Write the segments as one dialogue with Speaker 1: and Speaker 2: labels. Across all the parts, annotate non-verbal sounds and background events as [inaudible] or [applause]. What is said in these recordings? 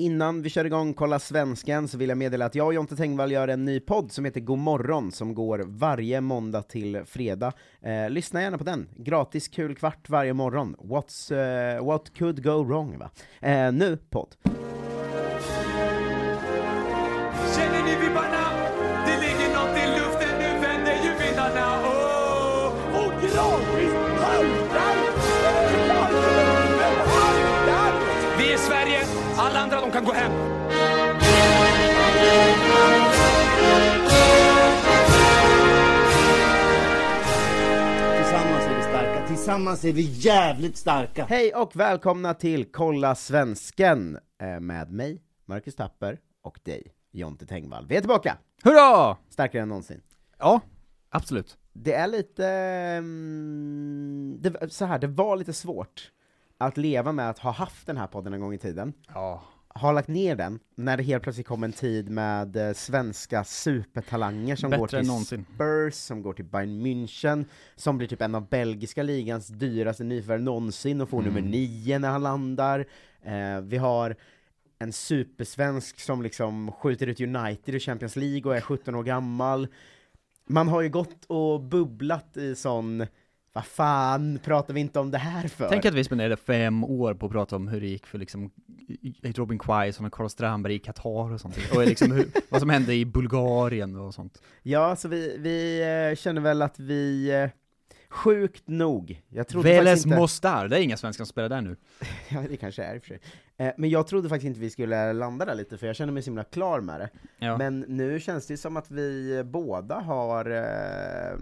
Speaker 1: Innan vi kör igång Kolla Svensken så vill jag meddela att jag och Jonte Tengvall gör en ny podd som heter God morgon som går varje måndag till fredag. Eh, lyssna gärna på den. Gratis kul kvart varje morgon. What's, eh, what could go wrong va? Eh, nu podd.
Speaker 2: Känner ni vibbarna? Det ligger något i luften, nu vänder ju vindarna Åh, och Granqvist haltar! Vi är Sverige, alla andra de kan gå hem.
Speaker 3: Tillsammans är vi starka, tillsammans är vi jävligt starka!
Speaker 1: Hej och välkomna till Kolla Svensken eh, med mig, Marcus Tapper, och dig, Jonte Tengvall. Vi är tillbaka!
Speaker 4: Hurra!
Speaker 1: Starkare än någonsin.
Speaker 4: Ja, absolut.
Speaker 1: Det är lite... mm, Det, så här, det var lite svårt att leva med att ha haft den här podden en gång i tiden,
Speaker 4: Ja.
Speaker 1: ha lagt ner den, när det helt plötsligt kom en tid med eh, svenska supertalanger som
Speaker 4: Bättre
Speaker 1: går
Speaker 4: än
Speaker 1: till
Speaker 4: någonsin.
Speaker 1: Spurs, som går till Bayern München, som blir typ en av belgiska ligans dyraste nyförvärv någonsin och får
Speaker 4: Mm.
Speaker 1: nummer nio när han landar. Eh, vi har en supersvensk som liksom skjuter ut United ur Champions League och är 17 år gammal. Man har ju gått och bubblat i sån, vad fan pratar vi inte om det här för?
Speaker 4: Tänk att vi spenderade fem år på att prata om hur det gick för liksom Robin Quaison och Carl Strandberg i Qatar och sånt. Och
Speaker 1: [laughs]
Speaker 4: liksom hur, vad som hände i Bulgarien och sånt.
Speaker 1: Ja, så vi, vi eh, känner väl att vi, eh, sjukt nog, jag trodde
Speaker 4: Veles
Speaker 1: faktiskt inte...
Speaker 4: Mostar, det är inga svenskar som spelar där nu.
Speaker 1: [laughs] Ja, det kanske är i och för sig. Eh, men jag trodde faktiskt inte vi skulle landa där lite, för jag kände mig så himla klar med det.
Speaker 4: Ja.
Speaker 1: Men nu känns det ju som att vi eh, båda har, eh,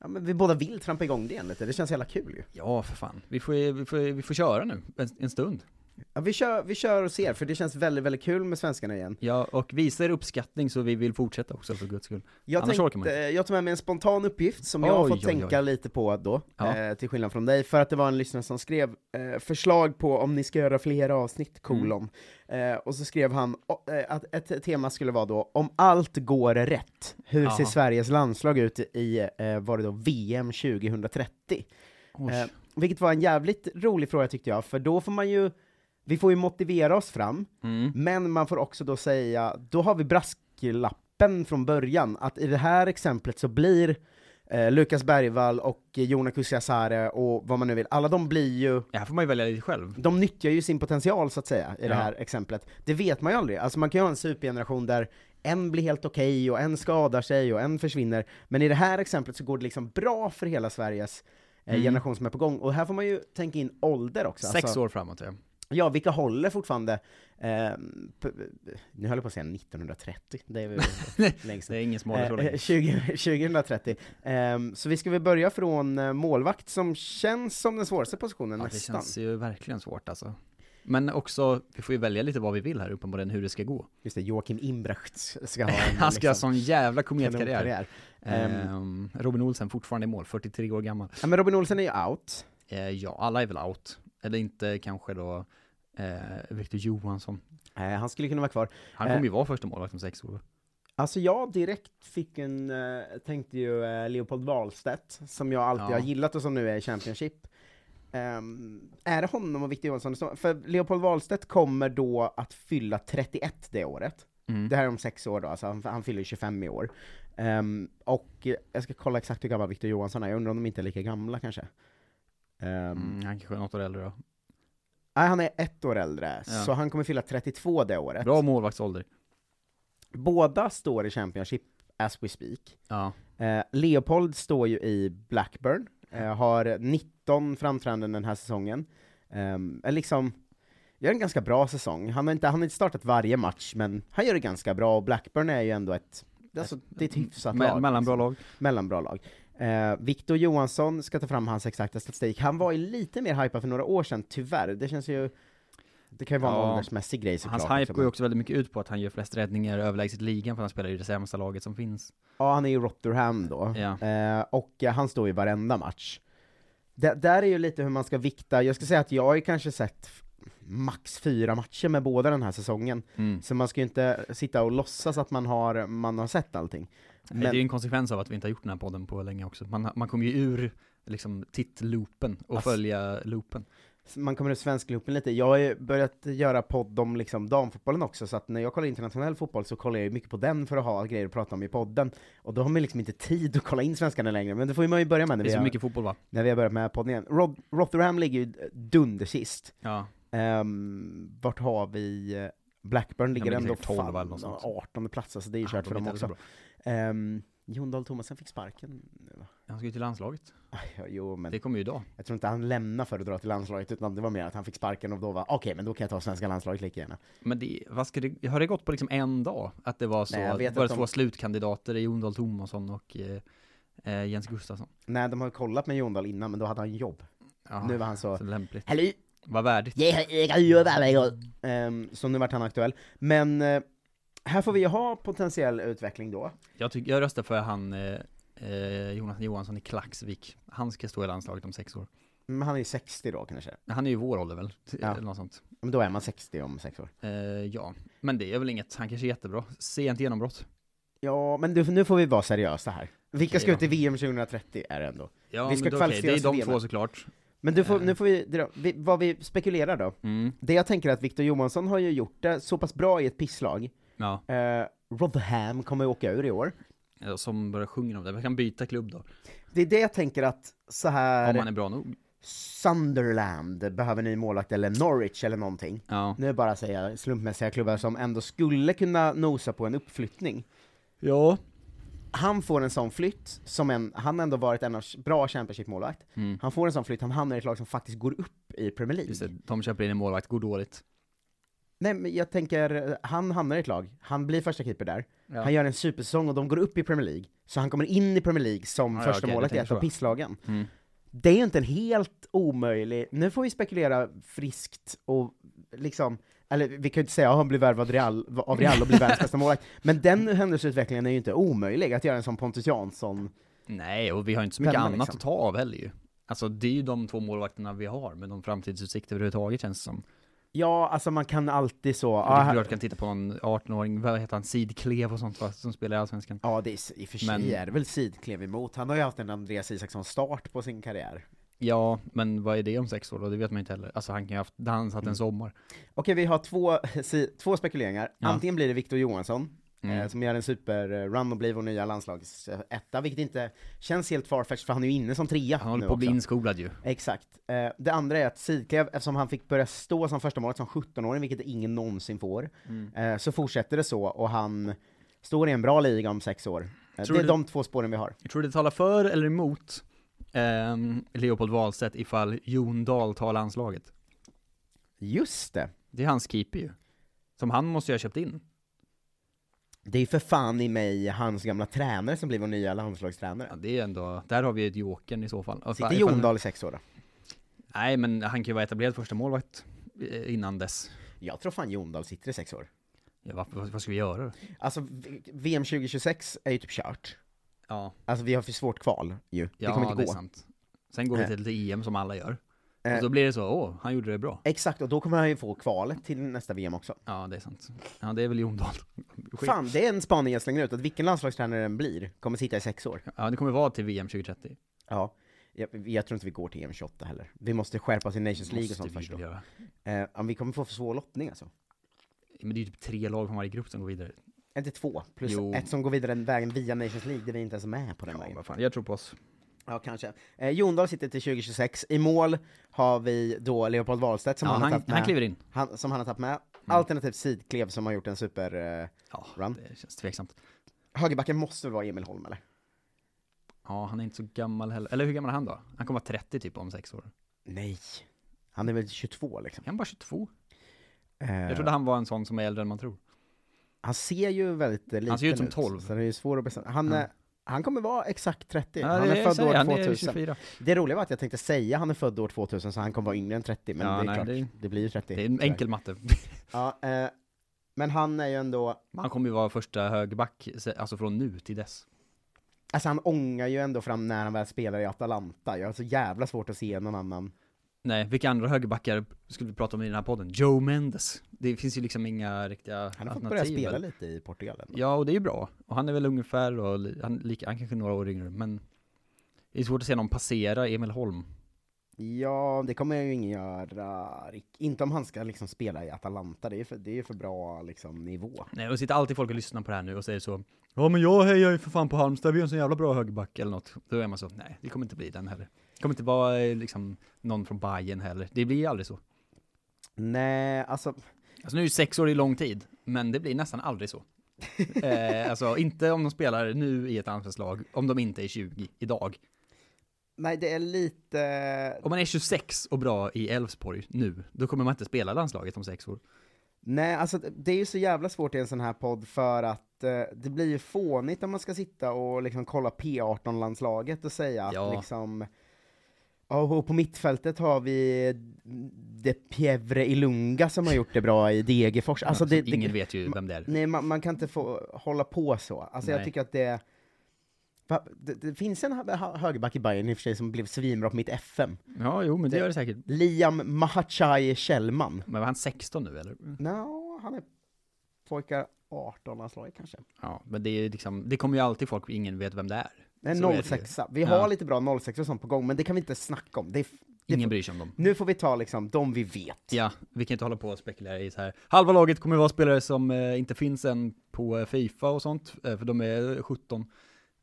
Speaker 1: ja men vi båda vill trampa igång det igen lite, det känns jävla kul ju.
Speaker 4: Ja, för fan. Vi får, vi får, vi får köra nu, en, en stund.
Speaker 1: Ja, vi, kör, vi kör och ser, för det känns väldigt, väldigt kul med svenskarna igen.
Speaker 4: Ja, och visa er uppskattning så vi vill fortsätta också för guds skull.
Speaker 1: Jag,
Speaker 4: Annars orkar man
Speaker 1: tänkte, jag tog med mig en spontan uppgift som jag har
Speaker 4: Oj,
Speaker 1: fått
Speaker 4: oj,
Speaker 1: tänka
Speaker 4: oj.
Speaker 1: lite på då,
Speaker 4: Ja.
Speaker 1: eh, till skillnad från dig, för att det var en lyssnare som skrev eh, förslag på om ni ska göra flera avsnitt, kolon. Eh, och så skrev han o- eh, att ett tema skulle vara då, om allt går rätt, hur ser
Speaker 4: Aha.
Speaker 1: Sveriges landslag ut i, eh, var det då, VM 2030?
Speaker 4: Oj.
Speaker 1: Eh, vilket var en jävligt rolig fråga tyckte jag, för då får man ju, vi får ju motivera oss fram,
Speaker 4: Mm.
Speaker 1: men man får också då säga, då har vi brasklappen från början, att i det här exemplet så blir eh, Lukas Bergvall och Jona Kusiasare och vad man nu vill, alla de blir ju,
Speaker 4: Det här får man ju välja lite själv.
Speaker 1: de nyttjar ju sin potential så att säga, i det
Speaker 4: Ja.
Speaker 1: här exemplet. Det vet man ju aldrig, alltså man kan ju ha en supergeneration där en blir helt okej och en skadar sig och en försvinner, men i det här exemplet så går det liksom bra för hela Sveriges eh, generation som är på gång, och här får man ju tänka in ålder också.
Speaker 4: Mm. Sex
Speaker 1: alltså,
Speaker 4: år framåt ja.
Speaker 1: Ja, vilka håller fortfarande? Eh, p- nu höll jag på att säga 1930, det
Speaker 4: [laughs]
Speaker 1: är väl längst
Speaker 4: Det är ingen som håller så
Speaker 1: Eh, eh,
Speaker 4: länge.
Speaker 1: 20, 2030. Ehm, så vi ska väl börja från eh, målvakt som känns som den svåraste positionen
Speaker 4: Ja, det
Speaker 1: nästan.
Speaker 4: känns ju verkligen svårt alltså. Men också, vi får ju välja lite vad vi vill här uppenbarligen, hur det ska gå.
Speaker 1: Just det, Joakim Imbrechts ska ha en
Speaker 4: [laughs] Eh, Han ska ha
Speaker 1: liksom,
Speaker 4: sån jävla kometkarriär.
Speaker 1: kanonkarriär. Ehm,
Speaker 4: Ehm, Robin Olsen fortfarande i mål, 43 år gammal.
Speaker 1: ja, men Robin Olsen är ju out.
Speaker 4: Eh, ja, alla är väl out. Eller inte kanske då eh, Victor Johansson.
Speaker 1: Eh, han skulle kunna vara kvar.
Speaker 4: Han kommer ju
Speaker 1: Eh.
Speaker 4: vara första målvakt om sex år.
Speaker 1: Alltså jag direkt fick en, eh, tänkte ju eh, Leopold Wahlstedt, som jag alltid
Speaker 4: Ja.
Speaker 1: har gillat och som nu är i Championship. Ehm, är det honom och Victor Johansson? det står- För Leopold Wahlstedt kommer då att fylla 31 det året.
Speaker 4: Mm.
Speaker 1: Det här är om sex år då, alltså han, han fyller 25 i år. Ehm, och eh, jag ska kolla exakt hur gammal Victor Johansson är, jag undrar om de inte är lika gamla kanske. Ehm,
Speaker 4: Mm, han kanske är något år äldre då.
Speaker 1: Nej, han är ett år äldre,
Speaker 4: Ja.
Speaker 1: så han kommer fylla 32 det året.
Speaker 4: Bra målvaktsålder.
Speaker 1: Båda står i Championship as we speak.
Speaker 4: Ja.
Speaker 1: Eh, Leopold står ju i Blackburn, eh, har 19 framträdanden den här säsongen. Ehm, är liksom, gör en ganska bra säsong. Han har, inte, han har inte startat varje match, men han gör det ganska bra, och Blackburn är ju ändå ett, alltså, det är ett hyfsat
Speaker 4: Me-
Speaker 1: lag. liksom.
Speaker 4: mellanbra lag.
Speaker 1: mellanbra lag. Eh, Victor Johansson ska ta fram hans exakta statistik. Han var ju lite mer hypad för några år sedan, tyvärr. Det känns ju... Det kan ju vara en
Speaker 4: Ja.
Speaker 1: åldersmässig grej såklart.
Speaker 4: Hans hype
Speaker 1: liksom.
Speaker 4: går ju också väldigt mycket ut på att han gör flest räddningar överlägset ligan för han spelar i det sämsta laget som finns.
Speaker 1: Ja, han är i Rotherham då.
Speaker 4: Ja.
Speaker 1: Eh, och eh, han står i varenda match. D- där är ju lite hur man ska vikta. Jag ska säga att jag har ju kanske sett f- max fyra matcher med båda den här säsongen.
Speaker 4: Mm.
Speaker 1: Så man ska ju inte sitta och låtsas att man har, man har sett allting.
Speaker 4: Det är
Speaker 1: Men
Speaker 4: ju en konsekvens av att vi inte har gjort den här podden på länge också. Man, man kommer ju ur liksom tittloopen och
Speaker 1: Ass-
Speaker 4: följa loopen.
Speaker 1: man kommer ur svensklopen lite. Jag har ju börjat göra podd om liksom damfotbollen också, så att när jag kollar internationell fotboll så kollar jag ju mycket på den för att ha grejer att prata om i podden. Och då har man ju liksom inte tid att kolla in svenskarna längre, men det får ju man ju börja med när
Speaker 4: Det är
Speaker 1: vi
Speaker 4: så
Speaker 1: har,
Speaker 4: mycket fotboll va?
Speaker 1: när vi har börjat med podden igen. Rod- Rotherham ligger ju dundersist.
Speaker 4: Ja.
Speaker 1: Um, vart har vi eh, Blackburn ligger
Speaker 4: men
Speaker 1: ändå
Speaker 4: säkert 12 eller
Speaker 1: fan
Speaker 4: något sånt.
Speaker 1: 18 plats, alltså det är ju
Speaker 4: Ah,
Speaker 1: kört
Speaker 4: de
Speaker 1: för
Speaker 4: är
Speaker 1: dem
Speaker 4: inte så
Speaker 1: också.
Speaker 4: bra.
Speaker 1: Um, Jon Dahl Tomasen fick sparken. nu, va? [laughs]
Speaker 4: Han ska ju till landslaget.
Speaker 1: Aj, Jo, men
Speaker 4: Det kommer ju idag.
Speaker 1: jag tror inte han lämnar för att dra till landslaget, utan det var mer att han fick sparken och då var okej, men då kan jag ta svenska landslaget lika gärna.
Speaker 4: Men det, vad ska det, har det gått på liksom en dag? Att det var så,
Speaker 1: Nej, jag vet
Speaker 4: att bara
Speaker 1: att de-
Speaker 4: två slutkandidater, Jon Dahl Tomasson och eh, eh, Jens Gustafsson.
Speaker 1: Nej, de har kollat med Jon Dahl innan, men då hade han jobb.
Speaker 4: Ja,
Speaker 1: Nu var han så,
Speaker 4: så lämpligt.
Speaker 1: hallå,
Speaker 4: Vad värdigt.
Speaker 1: jag har- jag kan jobba med er." Ehm, Så nu vart han aktuell. Men eh, här får vi ju ha potentiell utveckling då.
Speaker 4: Jag, tycker, jag röstar för han eh, eh, Jonathan Johansson i Klaxvik. Han ska stå i landslaget om sex år.
Speaker 1: Men han är ju 60 då kanske.
Speaker 4: Han är ju vår ålder väl?
Speaker 1: Ja.
Speaker 4: Eller något sånt.
Speaker 1: Men då är man 60 om sex år.
Speaker 4: Eh, ja, men det är väl inget. Han kanske är jättebra. Sent genombrott.
Speaker 1: Ja, men du, nu får vi vara seriösa här. Vilka
Speaker 4: Okej
Speaker 1: ska
Speaker 4: då.
Speaker 1: ut i VM 2030 är det ändå.
Speaker 4: Ja,
Speaker 1: Vi ska
Speaker 4: men då, okej,
Speaker 1: kvalificera
Speaker 4: det
Speaker 1: oss
Speaker 4: är de
Speaker 1: till
Speaker 4: två
Speaker 1: VM.
Speaker 4: såklart.
Speaker 1: Men du får,
Speaker 4: Eh.
Speaker 1: nu får vi, dra, vi, vad vi spekulerar då.
Speaker 4: Mm.
Speaker 1: Det jag tänker är att Victor Johansson har ju gjort det så pass bra i ett pisslag.
Speaker 4: Ja,
Speaker 1: Eh, Rotherham kommer ju åka ur i år.
Speaker 4: eh, som börjar sjunga om det. Vi kan byta klubb då.
Speaker 1: Det är det jag tänker att så
Speaker 4: Om
Speaker 1: här
Speaker 4: han är bra nog.
Speaker 1: Sunderland behöver ny målvakt, eller Norwich eller någonting.
Speaker 4: Ja.
Speaker 1: Nu bara säga slumpmässiga klubbar som ändå skulle kunna nosa på en uppflyttning.
Speaker 4: Ja.
Speaker 1: han får en sån flytt, som en, han har ändå varit en av bra Championship-målvakt,
Speaker 4: Mm.
Speaker 1: han får en sån flytt, han hamnar i ett lag som faktiskt går upp i Premier League.
Speaker 4: Just det, de köper in en målvakt, går dåligt.
Speaker 1: Nej men jag tänker, han hamnar i ett lag, han blir första keeper där,
Speaker 4: Ja.
Speaker 1: han gör en supersäsong och de går upp i Premier League, så han kommer in i Premier League som
Speaker 4: Ja, ja,
Speaker 1: första
Speaker 4: okej,
Speaker 1: målet
Speaker 4: du
Speaker 1: i ett
Speaker 4: tänker
Speaker 1: av
Speaker 4: så.
Speaker 1: pisslagen.
Speaker 4: Mm.
Speaker 1: Det är ju inte en helt omöjlig, nu får vi spekulera friskt och liksom, eller vi kan ju inte säga att han blir värvad Real, av Real och blir världens
Speaker 4: [laughs]
Speaker 1: bästa målvakt, men den händelseutvecklingen är ju inte omöjlig, att göra en sån Pontus Jansson
Speaker 4: Nej, och vi har ju inte så mycket
Speaker 1: Vem är
Speaker 4: annat
Speaker 1: liksom?
Speaker 4: att ta av heller ju. Alltså det är ju de två målvakterna vi har, men de framtidsutsikter överhuvudtaget känns som.
Speaker 1: Ja, alltså man kan alltid så,
Speaker 4: Ja,
Speaker 1: ja,
Speaker 4: du klart kan titta på någon 18-åring, vad heter han, Sid Klev och sånt va, som spelar i Allsvenskan.
Speaker 1: ja det är s- i och för sig
Speaker 4: Men-
Speaker 1: är det väl sidklev emot, han har ju haft en Andreas Isaksson-start på sin karriär.
Speaker 4: Ja, men vad är det om sex år då? Det vet man ju inte heller. Alltså han kan ju ha haft dansat en sommar.
Speaker 1: Okej, vi har två, [laughs] si, två spekuleringar,
Speaker 4: Ja.
Speaker 1: antingen blir det Victor Johansson,
Speaker 4: Mm.
Speaker 1: eh, som gör en super-run och blir vår nya landslagsetta, vilket inte känns helt farfetched för han är ju inne som trea
Speaker 4: Han håller
Speaker 1: nu
Speaker 4: på att bli
Speaker 1: också.
Speaker 4: inskolad ju.
Speaker 1: Exakt. Eh, det andra är att Sidklev, eftersom han fick börja stå som första målet som 17-åring, vilket ingen någonsin får,
Speaker 4: Mm.
Speaker 1: eh, så fortsätter det så, och han står i en bra liga om sex år. Eh, det
Speaker 4: Tror
Speaker 1: är
Speaker 4: du-
Speaker 1: de två spåren vi har.
Speaker 4: Jag tror det talar för eller emot ehm, Leopold Wahlstedt ifall Jon Dahl tar landslaget.
Speaker 1: Just det.
Speaker 4: Det är hans keeper ju. Som han måste ju ha köpt in.
Speaker 1: Det är ju för fan i mig hans gamla tränare som blir vår nya landslagstränare.
Speaker 4: Ja, det är ändå, där har vi ju ett jokern i så fall. Ifall-
Speaker 1: Sitter
Speaker 4: ifall-
Speaker 1: Jon Dahl i sex år då?
Speaker 4: Nej, men han kan ju vara etablerad första målvakt eh, innan dess.
Speaker 1: Jag tror fan Jon Dahl sitter i sex år.
Speaker 4: Ja, vad, vad vad ska vi göra då?
Speaker 1: Alltså, v- VM 2026 är ju typ kört.
Speaker 4: Ja,
Speaker 1: Alltså vi har för svårt kval ju. det kommer inte
Speaker 4: det
Speaker 1: gå.
Speaker 4: är sant. Sen går vi
Speaker 1: Eh.
Speaker 4: till lite EM som alla gör.
Speaker 1: Eh.
Speaker 4: Och då blir det så, åh, han gjorde det bra.
Speaker 1: Exakt, och då kommer han ju få kvalet till nästa VM också.
Speaker 4: Ja, det är sant. Ja, det är väl Jon Dahl. Skit.
Speaker 1: Fan, det är en spaning jag slänger ut, att vilken landslagstränare den blir kommer sitta i sex år.
Speaker 4: Ja, det kommer vara till VM 2030.
Speaker 1: Ja. Jag, jag tror inte vi går till EM 28 heller. Vi måste skärpa oss i Nations League och sånt
Speaker 4: vi
Speaker 1: först då.
Speaker 4: väl göra.
Speaker 1: Eh, ja, vi kommer få för svår lottning alltså.
Speaker 4: Men det är ju typ tre lag från varje grupp som går vidare.
Speaker 1: Inte två, plus
Speaker 4: Jo.
Speaker 1: ett som går vidare den vägen via Nations League, där vi inte ens är med på den
Speaker 4: Ja,
Speaker 1: vägen.
Speaker 4: vad fan, jag tror på oss.
Speaker 1: Ja, kanske. Eh, Jondal sitter till 2026. I mål har vi då Leopold Wahlstedt som
Speaker 4: Ja,
Speaker 1: han,
Speaker 4: han,
Speaker 1: har tagit med.
Speaker 4: han kliver Mm. in.
Speaker 1: Han, som han har tagit med. Alternativt Sidklev som har gjort en super... Eh,
Speaker 4: Ja,
Speaker 1: Run.
Speaker 4: det känns tveksamt.
Speaker 1: högerbacken måste väl vara Emil Holm eller?
Speaker 4: Ja, han är inte så gammal heller. Eller hur gammal är han då? Han kommer vara 30 typ om sex år.
Speaker 1: Nej. Han är väl 22 liksom.
Speaker 4: Är han bara 22?
Speaker 1: Eh,
Speaker 4: Jag trodde han var en sån som är äldre än man tror.
Speaker 1: han ser ju väldigt eh, liten
Speaker 4: ser ju ut som 12.
Speaker 1: Så det är ju svårt att bestämma. Han, eh, han kommer vara exakt 30.
Speaker 4: Ja,
Speaker 1: han
Speaker 4: det-
Speaker 1: är
Speaker 4: jag
Speaker 1: född
Speaker 4: säger,
Speaker 1: år
Speaker 4: han är
Speaker 1: 2000.
Speaker 4: 24.
Speaker 1: Det roliga var att jag tänkte säga han är född år 2000 så han kommer vara yngre än 30, men
Speaker 4: Ja,
Speaker 1: det är
Speaker 4: nej,
Speaker 1: klart,
Speaker 4: det-
Speaker 1: det, blir ju 30.
Speaker 4: Det är en
Speaker 1: tyvärr.
Speaker 4: enkel matte.
Speaker 1: Ja, eh, men han är ju ändå,
Speaker 4: Han kommer ju vara första högerback, se- alltså från nu till dess.
Speaker 1: alltså han ångar ju ändå fram när han väl spelar i Atalanta. Jag har så jävla svårt att se någon annan.
Speaker 4: Nej, vilka andra högerbackar skulle vi prata om i den här podden? Joe Mendes. Det finns ju liksom inga riktiga
Speaker 1: Han har fått börja
Speaker 4: alternativ.
Speaker 1: spela
Speaker 4: väl?
Speaker 1: lite i Portugal ändå.
Speaker 4: Ja, och det är ju bra. Och han är väl ungefär då, li- han, lika, han kanske är några år yngre, men det är svårt att se någon passera Emil Holm.
Speaker 1: Ja, det kommer ju ingen göra. Rick. Inte om han ska liksom spela i Atalanta, det är för, det är för bra liksom, nivå.
Speaker 4: Nej, Eh, och sitter alltid folk och lyssnar på det här nu och säger så Ja men jag hejar ju för fan på Halmstad, vi har en så jävla bra högerback eller något. Då är man så, nej det kommer inte bli den heller. Det kommer inte vara eh, liksom någon från Bayern heller, det blir aldrig så.
Speaker 1: Nej, alltså,
Speaker 4: Alltså nu är ju sex år i lång tid, men det blir nästan aldrig så. eh, alltså inte om de spelar nu i ett landslagslag, om de inte är 20 idag.
Speaker 1: nej det är lite...
Speaker 4: Om man är 26 och bra i Elfsborg nu, då kommer man inte spela i landslaget om sex år.
Speaker 1: Nej, alltså det är ju så jävla svårt i en sån här podd för att eh, det blir ju fånigt om man ska sitta och liksom kolla P18-landslaget och säga
Speaker 4: Ja.
Speaker 1: att liksom Ja, och på mittfältet har vi De Pievre Ilunga som har gjort det bra i Degerfors. Alltså, det, det,
Speaker 4: Ingen vet ju vem det är.
Speaker 1: Nej, man, man kan inte få hålla på så. Alltså jag
Speaker 4: Nej.
Speaker 1: tycker att det... Va, det, det finns en hö- hö- högerback i Bayern i och för sig som blev svinbra på mitt FM.
Speaker 4: Ja, jo men det gör det säkert.
Speaker 1: Liam Mahachai Kjellman.
Speaker 4: Men var han 16 nu eller?
Speaker 1: No, han är pojkar 18 landslaget kanske. Eh,
Speaker 4: Ja, men det är ju liksom, det kommer ju alltid folk, ingen vet vem det är.
Speaker 1: En
Speaker 4: Så är det ju.
Speaker 1: 06 Vi
Speaker 4: Ja.
Speaker 1: har lite bra 06 och sånt på gång, men det kan vi inte snacka om. Det är, f- det är
Speaker 4: Ingen
Speaker 1: f-
Speaker 4: bryr sig om dem.
Speaker 1: nu får vi ta liksom de vi vet.
Speaker 4: Ja, vi kan inte hålla på och spekulera i så här. Halva laget kommer vara spelare som eh, inte finns än på eh, Fifa och sånt, eh, för de är 17.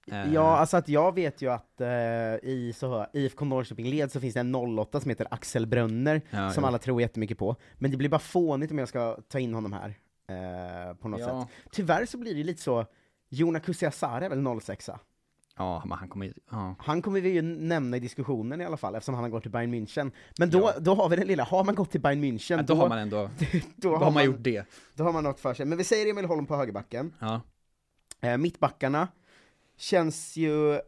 Speaker 4: Eh,
Speaker 1: Ja, alltså att jag vet ju att eh, i så, IFK Norrköping led så finns det en 08 som heter Axel Brönner,
Speaker 4: Ja,
Speaker 1: som
Speaker 4: jo.
Speaker 1: alla tror jättemycket på. Men det blir bara fånigt om jag ska ta in honom här, eh, på något
Speaker 4: Ja.
Speaker 1: sätt. Tyvärr så blir det lite så, Jona Kusiasare är väl 06
Speaker 4: Ja, men han kommer ju, ja.
Speaker 1: Han kommer vi ju nämna i diskussionen i alla fall, eftersom han har gått till Bayern München. Men då, då har vi den lilla, har man gått till Bayern München,
Speaker 4: Ja, Då har man ändå,
Speaker 1: då
Speaker 4: då
Speaker 1: har
Speaker 4: har man
Speaker 1: man-
Speaker 4: gjort det.
Speaker 1: då har man något för sig. Men vi säger Emil Holm på högerbacken.
Speaker 4: Ja.
Speaker 1: Eh, mittbackarna känns ju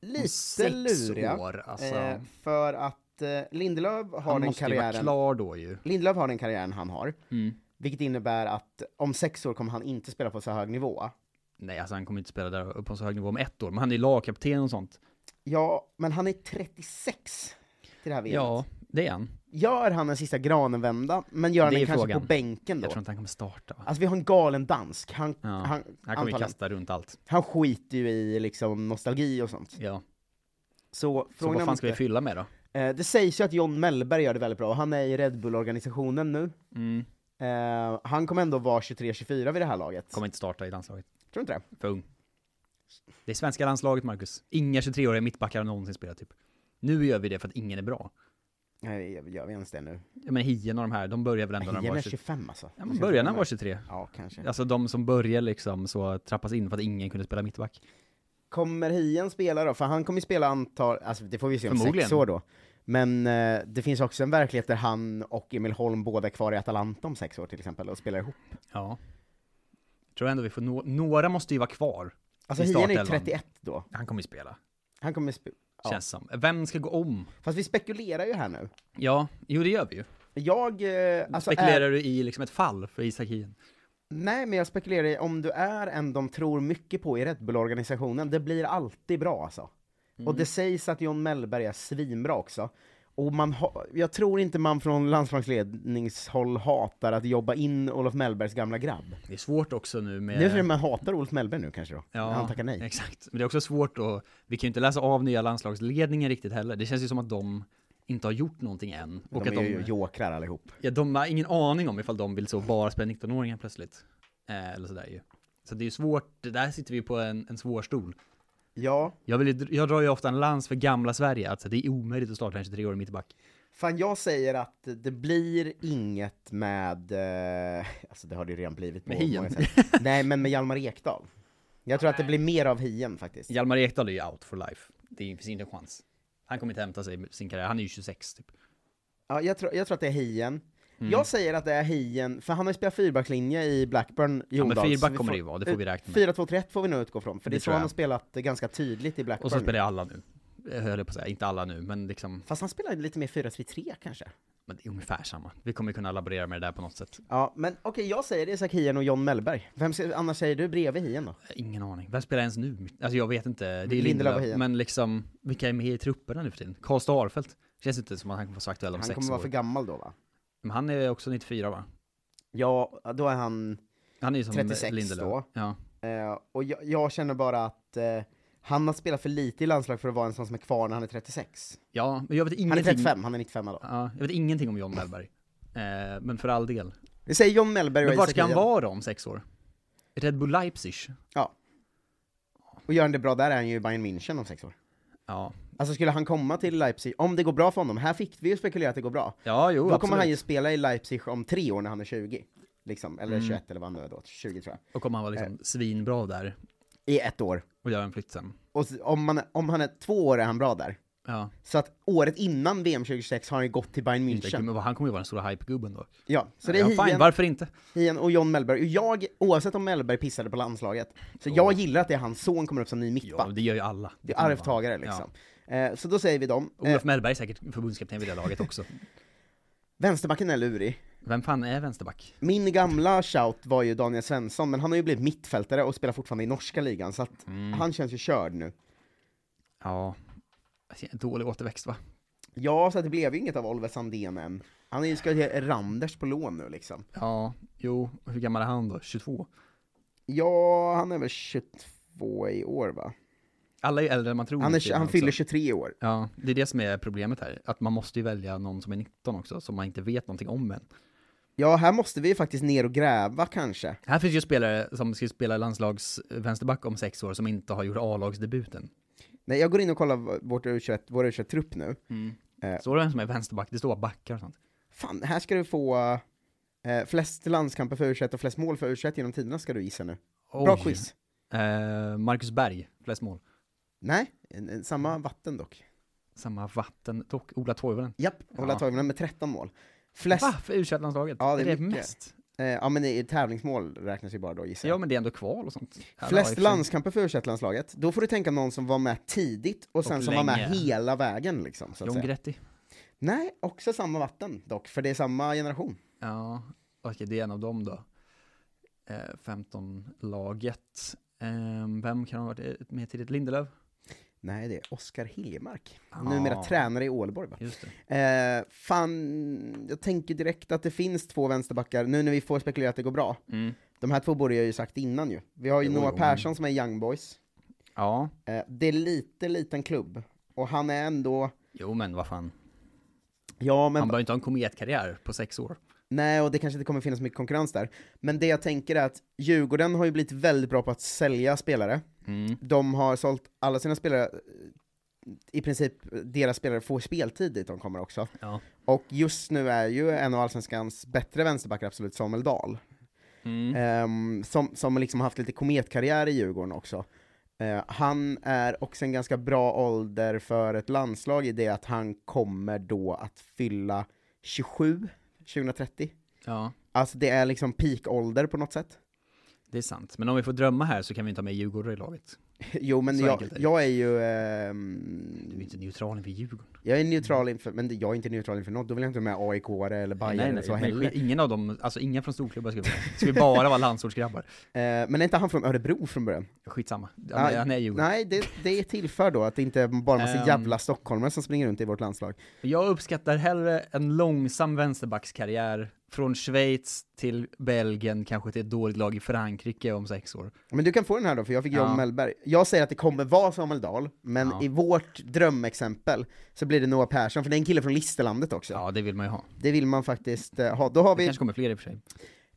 Speaker 1: lite
Speaker 4: sex
Speaker 1: luriga.
Speaker 4: år, alltså.
Speaker 1: eh, för att eh, Lindelöf har
Speaker 4: Han
Speaker 1: den
Speaker 4: måste ju vara
Speaker 1: karriären
Speaker 4: klar då ju.
Speaker 1: Lindelöf har den karriären han har,
Speaker 4: Mm.
Speaker 1: vilket innebär att om sex år kommer han inte spela på så hög nivå.
Speaker 4: Nej, alltså han kommer inte spela där på en så hög nivå om ett år, men han är lagkapten och sånt.
Speaker 1: Ja, men han är 36 till det här VMet.
Speaker 4: Ja, det är han.
Speaker 1: Gör han en sista Granenvända, men gör han
Speaker 4: Det är
Speaker 1: den kanske
Speaker 4: frågan.
Speaker 1: på bänken då?
Speaker 4: Jag tror inte han kommer starta. Va?
Speaker 1: Alltså vi har en galen dansk, han,
Speaker 4: Ja,
Speaker 1: han,
Speaker 4: Han kommer ju
Speaker 1: antagligen,
Speaker 4: kasta runt allt.
Speaker 1: han skiter ju i liksom nostalgi och sånt.
Speaker 4: Ja.
Speaker 1: Så
Speaker 4: Så vad
Speaker 1: frågan
Speaker 4: fan
Speaker 1: är
Speaker 4: ska vi fylla med då?
Speaker 1: Eh, Det sägs ju att John Mellberg gör det väldigt bra, och han är i Red Bull-organisationen nu.
Speaker 4: Mm.
Speaker 1: Eh, han kommer ändå vara 23-24 vid det här laget.
Speaker 4: Kommer inte starta i landslaget.
Speaker 1: Tror du inte det?
Speaker 4: För ung. Det är svenska landslaget, Marcus. Inga 23-åriga mittbackar har någonsin spelat typ. Nu gör vi det för att ingen är bra.
Speaker 1: Nej, gör- gör vi ens det nu?
Speaker 4: Ja, men Hien och de här, de börjar väl ändå när de
Speaker 1: Hien
Speaker 4: var
Speaker 1: är
Speaker 4: 23?
Speaker 1: 25 alltså.
Speaker 4: Ja, men början när de var 23.
Speaker 1: Ja, kanske.
Speaker 4: Alltså de som börjar liksom så trappas in för att ingen kunde spela mittback.
Speaker 1: Kommer Hien spela då? För han kommer ju spela antal, alltså det får vi se om
Speaker 4: Förmodligen.
Speaker 1: sex år då. Men eh, det finns också en verklighet där han och Emil Holm båda är kvar i Atalanta om sex år till exempel och spelar ihop.
Speaker 4: Ja. Tror ändå vi får nå- några måste ju vara kvar.
Speaker 1: Alltså
Speaker 4: i
Speaker 1: Hien är ju
Speaker 4: startelvan.
Speaker 1: 31 då.
Speaker 4: Han kommer ju spela,
Speaker 1: Han kommer sp- ja.
Speaker 4: känns som. Vem ska gå om?
Speaker 1: Fast vi spekulerar ju här nu.
Speaker 4: Ja, jo det gör vi ju.
Speaker 1: Jag, eh, alltså, är-
Speaker 4: Spekulerar du i liksom ett fall för Isak Hien?
Speaker 1: Nej, men jag spekulerar i om du är en de tror mycket på i Red Bull-organisationen, det blir alltid bra alltså.
Speaker 4: Mm.
Speaker 1: Och det sägs att John Mellberg är svinbra också. Och man ha, jag tror inte man från landslagsledningshåll hatar att jobba in Olof Mellbergs gamla grabb.
Speaker 4: Det är svårt också nu med...
Speaker 1: Nu är det man hatar Olof Mellberg nu kanske då, när han tackar nej.
Speaker 4: Exakt, men det är också svårt att, vi kan ju inte läsa av nya landslagsledningen riktigt heller. Det känns ju som att de inte har gjort någonting än. Och
Speaker 1: de
Speaker 4: att
Speaker 1: är ju jokrar allihop.
Speaker 4: ja, de har ingen aning om ifall de vill så bara spela 19-åringar plötsligt. Eh, eller sådär ju. Så det är ju svårt, det där sitter vi på en, en svår stol.
Speaker 1: Ja,
Speaker 4: Jag, vill, ju- jag drar ju ofta en lans för gamla Sverige, att så det är omöjligt att starta en 23-årig mittback.
Speaker 1: Fan, jag säger att det blir inget med, eh, alltså det har det ju redan blivit på
Speaker 4: Med Hien.
Speaker 1: många
Speaker 4: [laughs]
Speaker 1: sätt. Nej, men med Hjalmar Ekdal. Jag tror att det blir mer av Hien faktiskt.
Speaker 4: Hjalmar Ekdal är ju out for life. Det finns inte en chans. Han kommer inte hämta sig med sin karriär. Han är ju 26 typ.
Speaker 1: Ja, jag, tror, jag tror att det är Hien.
Speaker 4: Mm.
Speaker 1: Jag säger att det är Hien, för han har ju spelat fyrbacklinje i Blackburn,
Speaker 4: Ja, men
Speaker 1: Jondals.
Speaker 4: fyrback kommer det ju vara, det får vi räkna med.
Speaker 1: 4-2-3-1 får vi nog utgå från, för det,
Speaker 4: Det
Speaker 1: är så
Speaker 4: tror
Speaker 1: han
Speaker 4: jag.
Speaker 1: har spelat eh, ganska tydligt i Blackburn.
Speaker 4: Och så spelar alla nu. Jag höll på att säga, inte alla nu, men liksom,
Speaker 1: Fast han spelar lite mer 4-3-3 kanske?
Speaker 4: men det är ungefär samma. Vi kommer kunna laborera med det där på något sätt.
Speaker 1: Ja, men okej, jag säger Isak Hien och John Mellberg. Vem ska, annars säger du bredvid Hien då?
Speaker 4: Ingen aning. Vem spelar ens nu? Alltså jag vet inte. Det är
Speaker 1: Lindelöf och
Speaker 4: Lindelöf,
Speaker 1: Hien.
Speaker 4: men liksom, vilka är med i trupperna nu för tiden? Karl Starfelt? Känns inte som att han kommer vara så aktuell om
Speaker 1: Han
Speaker 4: sex
Speaker 1: kommer
Speaker 4: år.
Speaker 1: vara för gammal då va?
Speaker 4: Men han är också 94 va?
Speaker 1: Ja, då är han...
Speaker 4: Han är ju som
Speaker 1: 36
Speaker 4: Lindelöf.
Speaker 1: då.
Speaker 4: Ja.
Speaker 1: Eh, och jag, jag känner bara att eh, han har spelat för lite i landslag för att vara en sån som är kvar när han är 36.
Speaker 4: ja, men jag vet ingenting.
Speaker 1: Han är 35, han är 95 då.
Speaker 4: Ja, jag vet ingenting om John Mellberg. Eh, men för all del.
Speaker 1: Vi säger John Mellberg och
Speaker 4: Men vart
Speaker 1: Isak
Speaker 4: ska han
Speaker 1: Hien.
Speaker 4: vara då om sex år? Red Bull Leipzig?
Speaker 1: Ja. Och gör han det bra där är han ju i Bayern München om sex år.
Speaker 4: Ja.
Speaker 1: Alltså skulle han komma till Leipzig, om det går bra för honom, här fick vi ju spekulera att det går bra.
Speaker 4: Ja, jo,
Speaker 1: då kommer
Speaker 4: absolut.
Speaker 1: han ju spela i Leipzig om tre år när han är 20. Liksom, eller
Speaker 4: Mm.
Speaker 1: 21 eller vad han nu är då, 20 tror jag.
Speaker 4: Och kommer han vara
Speaker 1: Eh.
Speaker 4: liksom svinbra där
Speaker 1: I ett år.
Speaker 4: och göra en flytt sen.
Speaker 1: Och s- om, man, om han är två år är han bra där.
Speaker 4: Ja.
Speaker 1: Så att året innan VM 2026 har han ju gått till Bayern
Speaker 4: Inte,
Speaker 1: München.
Speaker 4: men han kommer ju vara den stora hypegubben då.
Speaker 1: Ja, så det
Speaker 4: ja,
Speaker 1: är
Speaker 4: fine,
Speaker 1: Hien,
Speaker 4: varför inte?
Speaker 1: Hien och John Mellberg. Och jag, oavsett om Mellberg pissade på landslaget, så jag gillar att det är hans son kommer upp som ny
Speaker 4: Ja,
Speaker 1: mittback.
Speaker 4: det gör ju alla.
Speaker 1: det är
Speaker 4: kommer vara.
Speaker 1: arvtagare liksom. Eh, så då säger vi dem.
Speaker 4: Ja. Olof Mellberg är säkert förbundskapten vid det
Speaker 1: [laughs]
Speaker 4: laget också.
Speaker 1: Vänsterbacken är lurig.
Speaker 4: Vem fan är vänsterback?
Speaker 1: Min gamla shout var ju Daniel Svensson, men han har ju blivit mittfältare och spelar fortfarande i norska ligan, så att
Speaker 4: Mm.
Speaker 1: han känns ju körd nu.
Speaker 4: Ja, dålig återväxt va?
Speaker 1: Ja, så att det blev ju inget av Oliver Sandén än. Han är ju ska till Randers på lån nu liksom.
Speaker 4: Ja, jo, hur gammal är han då? 22?
Speaker 1: Ja, han är väl 22 i år va?
Speaker 4: Alla är ju äldre än man tror.
Speaker 1: Han,
Speaker 4: nu
Speaker 1: är,
Speaker 4: tiden
Speaker 1: han
Speaker 4: också.
Speaker 1: fyller 23 i år.
Speaker 4: Ja, det är det som är problemet här. Att man måste ju välja någon som är 19 också, som man inte vet någonting om än.
Speaker 1: Ja, här måste vi ju faktiskt ner och gräva kanske.
Speaker 4: Här finns ju spelare som ska spela landslagsvänsterback om sex år som inte har gjort A-lagsdebuten.
Speaker 1: Nej, jag går in och kollar v- vårt U21, vår U21-trupp nu.
Speaker 4: Står det vem som är vänsterback? Det står bara backar och sånt.
Speaker 1: Fan, här ska du få eh, flest landskamper för U21 och flest mål för U21 genom tiderna ska du gissa nu. Bra
Speaker 4: Oj.
Speaker 1: quiz.
Speaker 4: Eh, Marcus Berg, flest mål.
Speaker 1: Nej, en, en, samma
Speaker 4: Mm.
Speaker 1: vatten dock.
Speaker 4: Samma vatten, dock Ola Toivonen.
Speaker 1: Japp, Ola
Speaker 4: Ja.
Speaker 1: Toivonen med 13 mål. Flest,
Speaker 4: Va? För u landslaget
Speaker 1: Ja, det är
Speaker 4: är det
Speaker 1: mycket.
Speaker 4: mest?
Speaker 1: eh, ja men i tävlingsmål räknas ju bara då gissar
Speaker 4: Ja,
Speaker 1: jag.
Speaker 4: men det är ändå kval och sånt. Ja, ja, i och
Speaker 1: Flest
Speaker 4: för sig.
Speaker 1: landskamper för U21-landslaget, då får du tänka någon som var med tidigt och sen
Speaker 4: Och
Speaker 1: som var med
Speaker 4: länge.
Speaker 1: hela vägen liksom. Så att
Speaker 4: John
Speaker 1: säga.
Speaker 4: Gretti.
Speaker 1: Nej, också samma vatten dock, för det är samma generation.
Speaker 4: Ja, okej, det är en av dem då. Eh, 15-laget. Eh, vem kan ha varit med tidigt? Lindelöf?
Speaker 1: Nej, det är Oskar Hiljemark.
Speaker 4: Ah.
Speaker 1: Numera tränare i Ålborg va?
Speaker 4: Just det.
Speaker 1: Eh, fan, jag tänker direkt att det finns två vänsterbackar, nu när vi får spekulera att det går bra.
Speaker 4: Mm.
Speaker 1: De här två borde jag ju sagt innan ju. Vi har ju
Speaker 4: Jo,
Speaker 1: Noah
Speaker 4: jo, men-
Speaker 1: Persson som är i Young Boys.
Speaker 4: Ja,
Speaker 1: Eh, det är lite liten klubb, och han är ändå,
Speaker 4: jo men vad fan.
Speaker 1: ja men
Speaker 4: Han behöver inte ha en kometkarriär på sex år.
Speaker 1: nej och det kanske inte kommer finnas mycket konkurrens där. Men det jag tänker är att Djurgården har ju blivit väldigt bra på att sälja spelare. De har sålt alla sina spelare, eh, i princip deras spelare får speltid dit de kommer också.
Speaker 4: Ja.
Speaker 1: Och just nu är ju en av Allsvenskans bättre vänsterbackar absolut Samuel Dahl. Ehm, som, som liksom haft lite kometkarriär i Djurgården också. Eh, han är också en ganska bra ålder för ett landslag i det att han kommer då att fylla 27 2030.
Speaker 4: ja,
Speaker 1: Alltså det är liksom peak-ålder på något sätt. [laughs]
Speaker 4: det är sant. Men om vi får drömma här så kan vi inte ha med Djurgården i laget.
Speaker 1: Jo men
Speaker 4: Så
Speaker 1: jag,
Speaker 4: enkelt är det.
Speaker 1: jag är ju,
Speaker 4: Du är
Speaker 1: ehm,
Speaker 4: ju inte neutral inför Djurgården.
Speaker 1: jag är neutral inför, men jag är inte neutral inför något, då vill jag inte ha med AIK eller Bayern eller så
Speaker 4: men
Speaker 1: heller.
Speaker 4: skit- ingen av dem, alltså inga från storklubbar [laughs] ska vi ha. Ska vi bara vara landsortsgrabbar?
Speaker 1: Eh, men är inte han från Örebro från början? Ah,
Speaker 4: Skitsamma. Han, är- han är Djurgården.
Speaker 1: Nej, det, det tillför då att det inte är bara en massa
Speaker 4: Ehm.
Speaker 1: jävla stockholmare som springer runt i vårt landslag.
Speaker 4: Jag uppskattar hellre en långsam vänsterbackskarriär från Schweiz till Belgien, kanske till ett dåligt lag i Frankrike om sex år.
Speaker 1: Men du kan få den här då, för jag fick John
Speaker 4: Ja.
Speaker 1: Mellberg. Jag säger att det kommer vara Samuel Dahl, men
Speaker 4: Ja.
Speaker 1: i vårt drömexempel så blir det Noah Persson, för det är en kille från Listerlandet också.
Speaker 4: Ja, det vill man ju ha.
Speaker 1: Det vill man faktiskt eh, ha. Då har
Speaker 4: Det
Speaker 1: vi,
Speaker 4: kanske kommer fler i och för sig.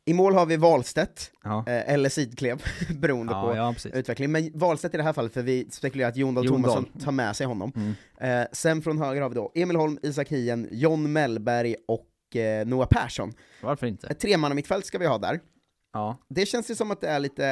Speaker 1: i mål har vi Wahlstedt,
Speaker 4: Ja,
Speaker 1: eh, eller Sidklev, [laughs] beroende på
Speaker 4: ja, ja precis.
Speaker 1: utveckling. Men Wahlstedt i det här fallet, för vi spekulerar att Jon Dahl
Speaker 4: Jon
Speaker 1: Tomasson
Speaker 4: Dahl. Mm.
Speaker 1: tar med sig honom. Eh, sen från höger har vi då Emil Holm, Isak Hien, John Mellberg och eh, Noah Persson.
Speaker 4: Varför inte?
Speaker 1: Ett tremannamittfält ska vi ha där.
Speaker 4: Ja.
Speaker 1: Det känns ju som att det är lite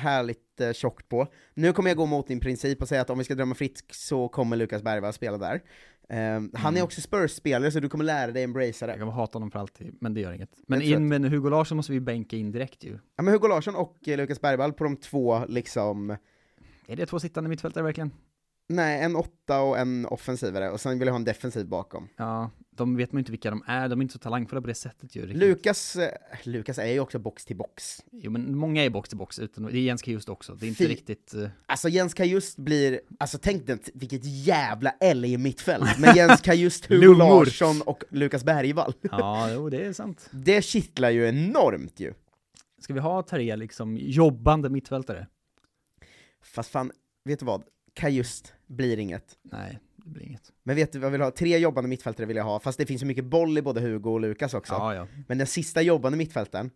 Speaker 1: härligt eh, tjockt på. Nu kommer jag gå mot din princip och säga att om vi ska drömma fritt så kommer Lukas Bergvall spela där. Eh, Han är också Spurs-spelare så du kommer lära dig embracea det.
Speaker 4: Jag kommer hata honom för alltid, men det gör inget. Men
Speaker 1: Jag tror
Speaker 4: in med Hugo Larsson måste vi bänka in direkt ju.
Speaker 1: Ja, men Hugo Larsson och eh, Lukas Bergvall på de två liksom,
Speaker 4: Är det två sittande mittfältare verkligen?
Speaker 1: nej en åtta och en offensivare och sen vill jag ha en defensiv bakom.
Speaker 4: Ja, de vet man ju inte vilka de är, de är inte så talangfulla på det sättet ju. riktigt.
Speaker 1: Lukas, eh, Lukas är ju också box till box.
Speaker 4: Jo, men många är box till box, utan, det är Jens Kajust också. Det är inte
Speaker 1: Fy-
Speaker 4: riktigt... eh,
Speaker 1: Alltså Jens Kajust blir, alltså tänk dig vilket jävla L i mittfält med Jens Kajust, Hugo
Speaker 4: Lungor.
Speaker 1: Larsson och Lukas Bergvall.
Speaker 4: Ja, jo, det är sant.
Speaker 1: Det kittlar ju enormt ju.
Speaker 4: Ska vi ha tre liksom jobbande mittfältare?
Speaker 1: Fast fan, vet du vad? Kajust blir inget.
Speaker 4: Nej, det blir inget.
Speaker 1: Men vet du vad jag vill ha? Tre jobbande mittfältare vill jag ha, fast det finns ju mycket boll i både Hugo och Lukas också.
Speaker 4: Ja, ja.
Speaker 1: Men den sista jobbande mittfältaren,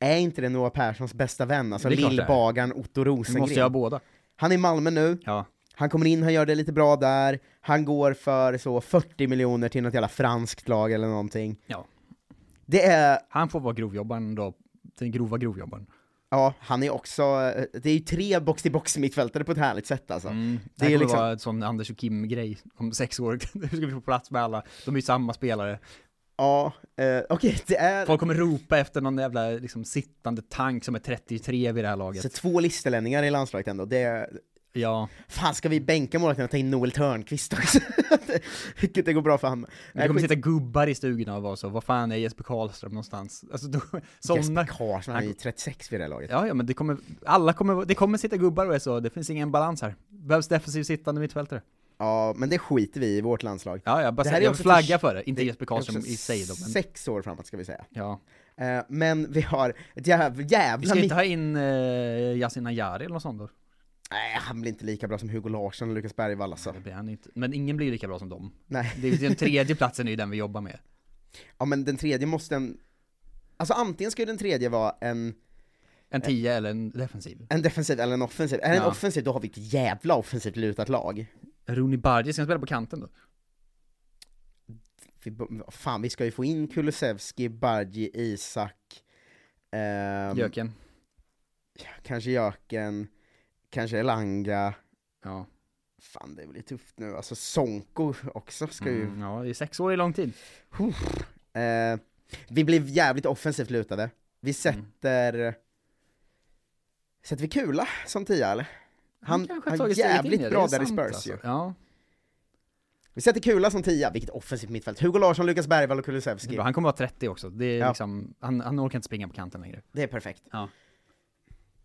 Speaker 1: är inte det Noah Perssons bästa vän? Alltså
Speaker 4: Det är klart det är.
Speaker 1: lillbagaren Otto
Speaker 4: Vi måste ju ha
Speaker 1: Rosengren.
Speaker 4: båda.
Speaker 1: Han är i Malmö nu,
Speaker 4: Ja.
Speaker 1: han kommer in, han gör det lite bra där, han går för så 40 miljoner till något jävla franskt lag eller någonting.
Speaker 4: ja.
Speaker 1: Det är,
Speaker 4: Han får vara grovjobbaren då, den grova grovjobbaren.
Speaker 1: ja, han är också, eh, det är ju tre box-till-box mittfältare på ett härligt sätt alltså.
Speaker 4: Mm. Det,
Speaker 1: är
Speaker 4: här kommer
Speaker 1: liksom-
Speaker 4: vara en sån Anders och Kim-grej om sex år. [laughs] Hur ska vi få plats med alla? De är ju samma spelare.
Speaker 1: Ja, eh, okej, det är...
Speaker 4: Folk kommer ropa efter någon jävla liksom, sittande tank som är 33 vid det här laget.
Speaker 1: Så två listelänningar i landslaget ändå, det...
Speaker 4: Ja,
Speaker 1: Fan, ska vi bänka målvakten och ta in Noel Törnqvist också? [laughs] Vilket det går bra för han. Eh,
Speaker 4: men det kommer sitta gubbar i stugorna och vara så, vad fan är Jesper Karlström någonstans? Alltså, då, [laughs] såna...
Speaker 1: Jesper Karlsson, han är ju 36 vid det här laget.
Speaker 4: Ja, ja, men det kommer, alla kommer, det kommer sitta gubbar och är så, det finns ingen balans här. Behövs defensiv sittande mittfältare.
Speaker 1: Ja, men det skiter vi i, vårt landslag.
Speaker 4: Ja, ja, bara
Speaker 1: Det här
Speaker 4: säga-
Speaker 1: är
Speaker 4: jag
Speaker 1: också
Speaker 4: flaggar
Speaker 1: för-
Speaker 4: för det, inte
Speaker 1: Det
Speaker 4: Jesper Karlström
Speaker 1: är också
Speaker 4: i sig då, men
Speaker 1: Sex år framåt ska vi säga.
Speaker 4: ja.
Speaker 1: Eh, men vi har ett jävla,
Speaker 4: Vi
Speaker 1: jävla
Speaker 4: ska
Speaker 1: mitt...
Speaker 4: inte ha in eh, Yasin Ayari eller något sånt då?
Speaker 1: Nej, han blir inte lika bra som Hugo Larsson och Lukas Bergvall alltså.
Speaker 4: Det blir han inte. Men ingen blir lika bra som dem.
Speaker 1: Nej.
Speaker 4: Det är, den tredje platsen är ju den vi jobbar med.
Speaker 1: [laughs] Ja, men den tredje måste en... Alltså antingen ska ju den tredje vara en, Eh.
Speaker 4: En 10 eller en defensiv.
Speaker 1: en defensiv eller en offensiv. Är det en
Speaker 4: Ja.
Speaker 1: offensiv, då har vi ett jävla offensivt lutat lag.
Speaker 4: Rooney Bardi, ska han spela på kanten då?
Speaker 1: Vi, bo- fan, vi ska ju få in Kulusevski, Badji, Isak, ehm,
Speaker 4: Göken.
Speaker 1: kanske Jöken, kanske Elanga.
Speaker 4: Ja.
Speaker 1: Fan, det blir tufft nu. Alltså Sonko också ska ju...
Speaker 4: Mm, ja, det är sex år i lång tid.
Speaker 1: Eh, vi blir jävligt offensivt lutade.
Speaker 4: Mm.
Speaker 1: Vi sätter... Sätter vi Kula som tia eller? Han,
Speaker 4: kanske har
Speaker 1: han
Speaker 4: tagit
Speaker 1: är
Speaker 4: steget in
Speaker 1: jävligt
Speaker 4: i det,
Speaker 1: bra
Speaker 4: det är
Speaker 1: där i
Speaker 4: sant
Speaker 1: Spurs
Speaker 4: alltså.
Speaker 1: ju.
Speaker 4: Ja,
Speaker 1: Vi sätter Kula som tia, vilket offensivt mittfält. Hugo Larsson, Lukas Bergvall och
Speaker 4: det är
Speaker 1: Kulusevski.
Speaker 4: bra. Han kommer vara 30 också. Det är
Speaker 1: Ja.
Speaker 4: liksom, han, han orkar inte springa på kanten längre.
Speaker 1: Det är perfekt.
Speaker 4: Ja.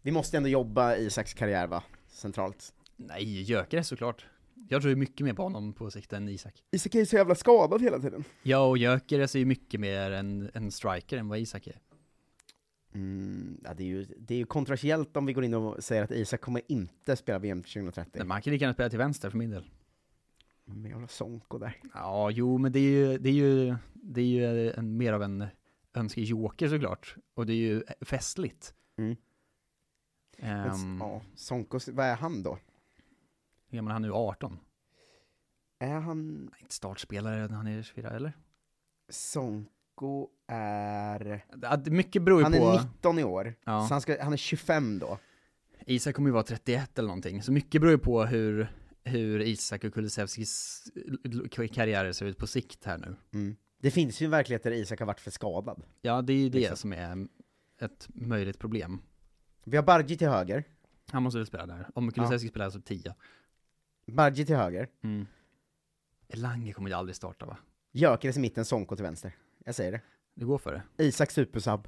Speaker 1: Vi måste ändå jobba Isaks karriär va? Centralt.
Speaker 4: Nej, Gyökeres såklart. Jag tror ju mycket mer på honom på sikt än Isak.
Speaker 1: Isak är ju så jävla skadad hela tiden.
Speaker 4: Ja, och Gyökeres är ju mycket mer en, en striker än vad Isak är.
Speaker 1: Mm, ja, det, är ju, det är ju kontroversiellt om vi går in och säger att Isak kommer inte spela VM 2030.
Speaker 4: Men man kan lika gärna spela till vänster för min del.
Speaker 1: Men jag vill ha Sonko där.
Speaker 4: Ja, jo, men det är ju, det är ju, det är ju en, mer av en önskejoker såklart. Och det är ju festligt.
Speaker 1: Mm.
Speaker 4: Ehm,
Speaker 1: ja, Sonko, vad är han då?
Speaker 4: Hur gammal är han nu? 18?
Speaker 1: Är han...
Speaker 4: Nej, inte startspelare när han är 24, eller?
Speaker 1: Sonko är...
Speaker 4: Ja, det- Mycket beror ju
Speaker 1: Han
Speaker 4: på.
Speaker 1: är 19 i år,
Speaker 4: Ja.
Speaker 1: så han, ska, han är 25 då.
Speaker 4: Isak kommer ju vara 31 eller någonting. Så mycket beror ju på hur, hur Isak och Kulusevskis l- karriärer ser ut på sikt här nu.
Speaker 1: Mm. Det finns ju en verklighet där Isak har varit för skadad.
Speaker 4: Ja, det är ju det
Speaker 1: Exakt.
Speaker 4: som är ett möjligt problem.
Speaker 1: Vi har Bargi till höger,
Speaker 4: Han måste väl spela där. Om Kulusevski spelar så 10.
Speaker 1: Bargi till höger,
Speaker 4: Mm. Elanga kommer ju aldrig starta va?
Speaker 1: Gyökeres i mitten, Sonko till vänster. Jag säger det.
Speaker 4: Det går för det.
Speaker 1: Isak supersub.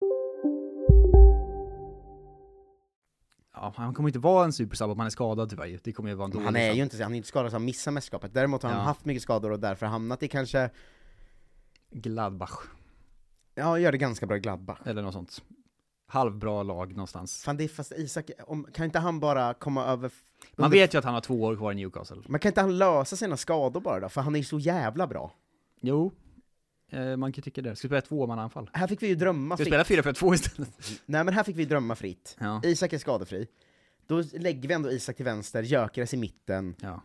Speaker 4: Ja, han kommer inte vara en supersub om han är skadad tyvärr ju. Det kommer ju vara en dålig liksom.
Speaker 1: Han är
Speaker 4: sub.
Speaker 1: ju inte, han är inte skadad så han missar mästerskapet. Däremot har han
Speaker 4: Ja.
Speaker 1: haft mycket skador och därför hamnat i kanske,
Speaker 4: Gladbach,
Speaker 1: ja gör det ganska bra i Gladbach.
Speaker 4: eller något sånt. Halvbra lag någonstans.
Speaker 1: Fan det är fast Isak, om, kan inte han bara komma över... f-
Speaker 4: Man
Speaker 1: under-
Speaker 4: vet ju att han har två år kvar i Newcastle.
Speaker 1: Men kan inte han lösa sina skador bara då? För han är ju så jävla bra.
Speaker 4: Jo, eh, man kan tycka det. Ska vi spela tvåmannaanfall?
Speaker 1: Här fick vi ju drömma
Speaker 4: Ska vi
Speaker 1: fritt.
Speaker 4: spela 4-4-2 istället?
Speaker 1: Nej men här fick vi drömma fritt.
Speaker 4: Ja.
Speaker 1: Isak är skadefri. Då lägger vi ändå Isak till vänster, Gyökeres i mitten,
Speaker 4: ja.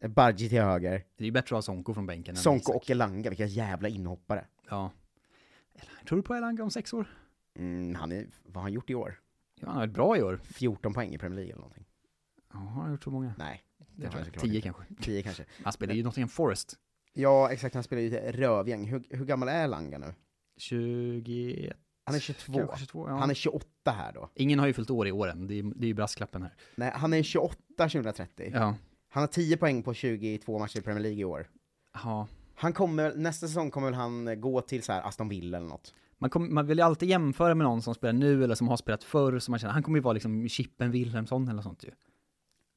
Speaker 1: eh, Bargi till höger,
Speaker 4: Det är ju bättre att ha Sonko från bänken än
Speaker 1: Sonko
Speaker 4: Isak.
Speaker 1: och Elanga, vilka jävla inhoppare.
Speaker 4: Ja. Eller, Tror du på Elanga om sex år?
Speaker 1: Mm, han är, vad har han gjort i år?
Speaker 4: Ja, han har varit bra i år.
Speaker 1: 14 poäng i Premier League eller någonting?
Speaker 4: Ja, har han gjort så många?
Speaker 1: Nej, det har han såklart
Speaker 4: 10
Speaker 1: inte.
Speaker 4: kanske.
Speaker 1: 10 kanske.
Speaker 4: Han spelar ju Nottingham Forest.
Speaker 1: [laughs] Ja exakt, han spelar ju ett rövgäng. Hur, hur gammal är Elanga nu?
Speaker 4: 21,
Speaker 1: Han är 22.
Speaker 4: kanske 22 ja.
Speaker 1: Han är 28 här då.
Speaker 4: Ingen har ju fyllt år i åren, det är, det är ju brasklappen här.
Speaker 1: Nej, han är 28 2030.
Speaker 4: Ja.
Speaker 1: Han har 10 poäng på 22 matcher i Premier League i år.
Speaker 4: ja.
Speaker 1: Han kommer, nästa säsong kommer väl han eh, gå till så här Aston Villa eller något.
Speaker 4: Man, kom, man vill ju alltid jämföra med någon som spelar nu eller som har spelat förr, så man känner, han kommer ju vara liksom Chippen Wilhelmsson eller sånt ju.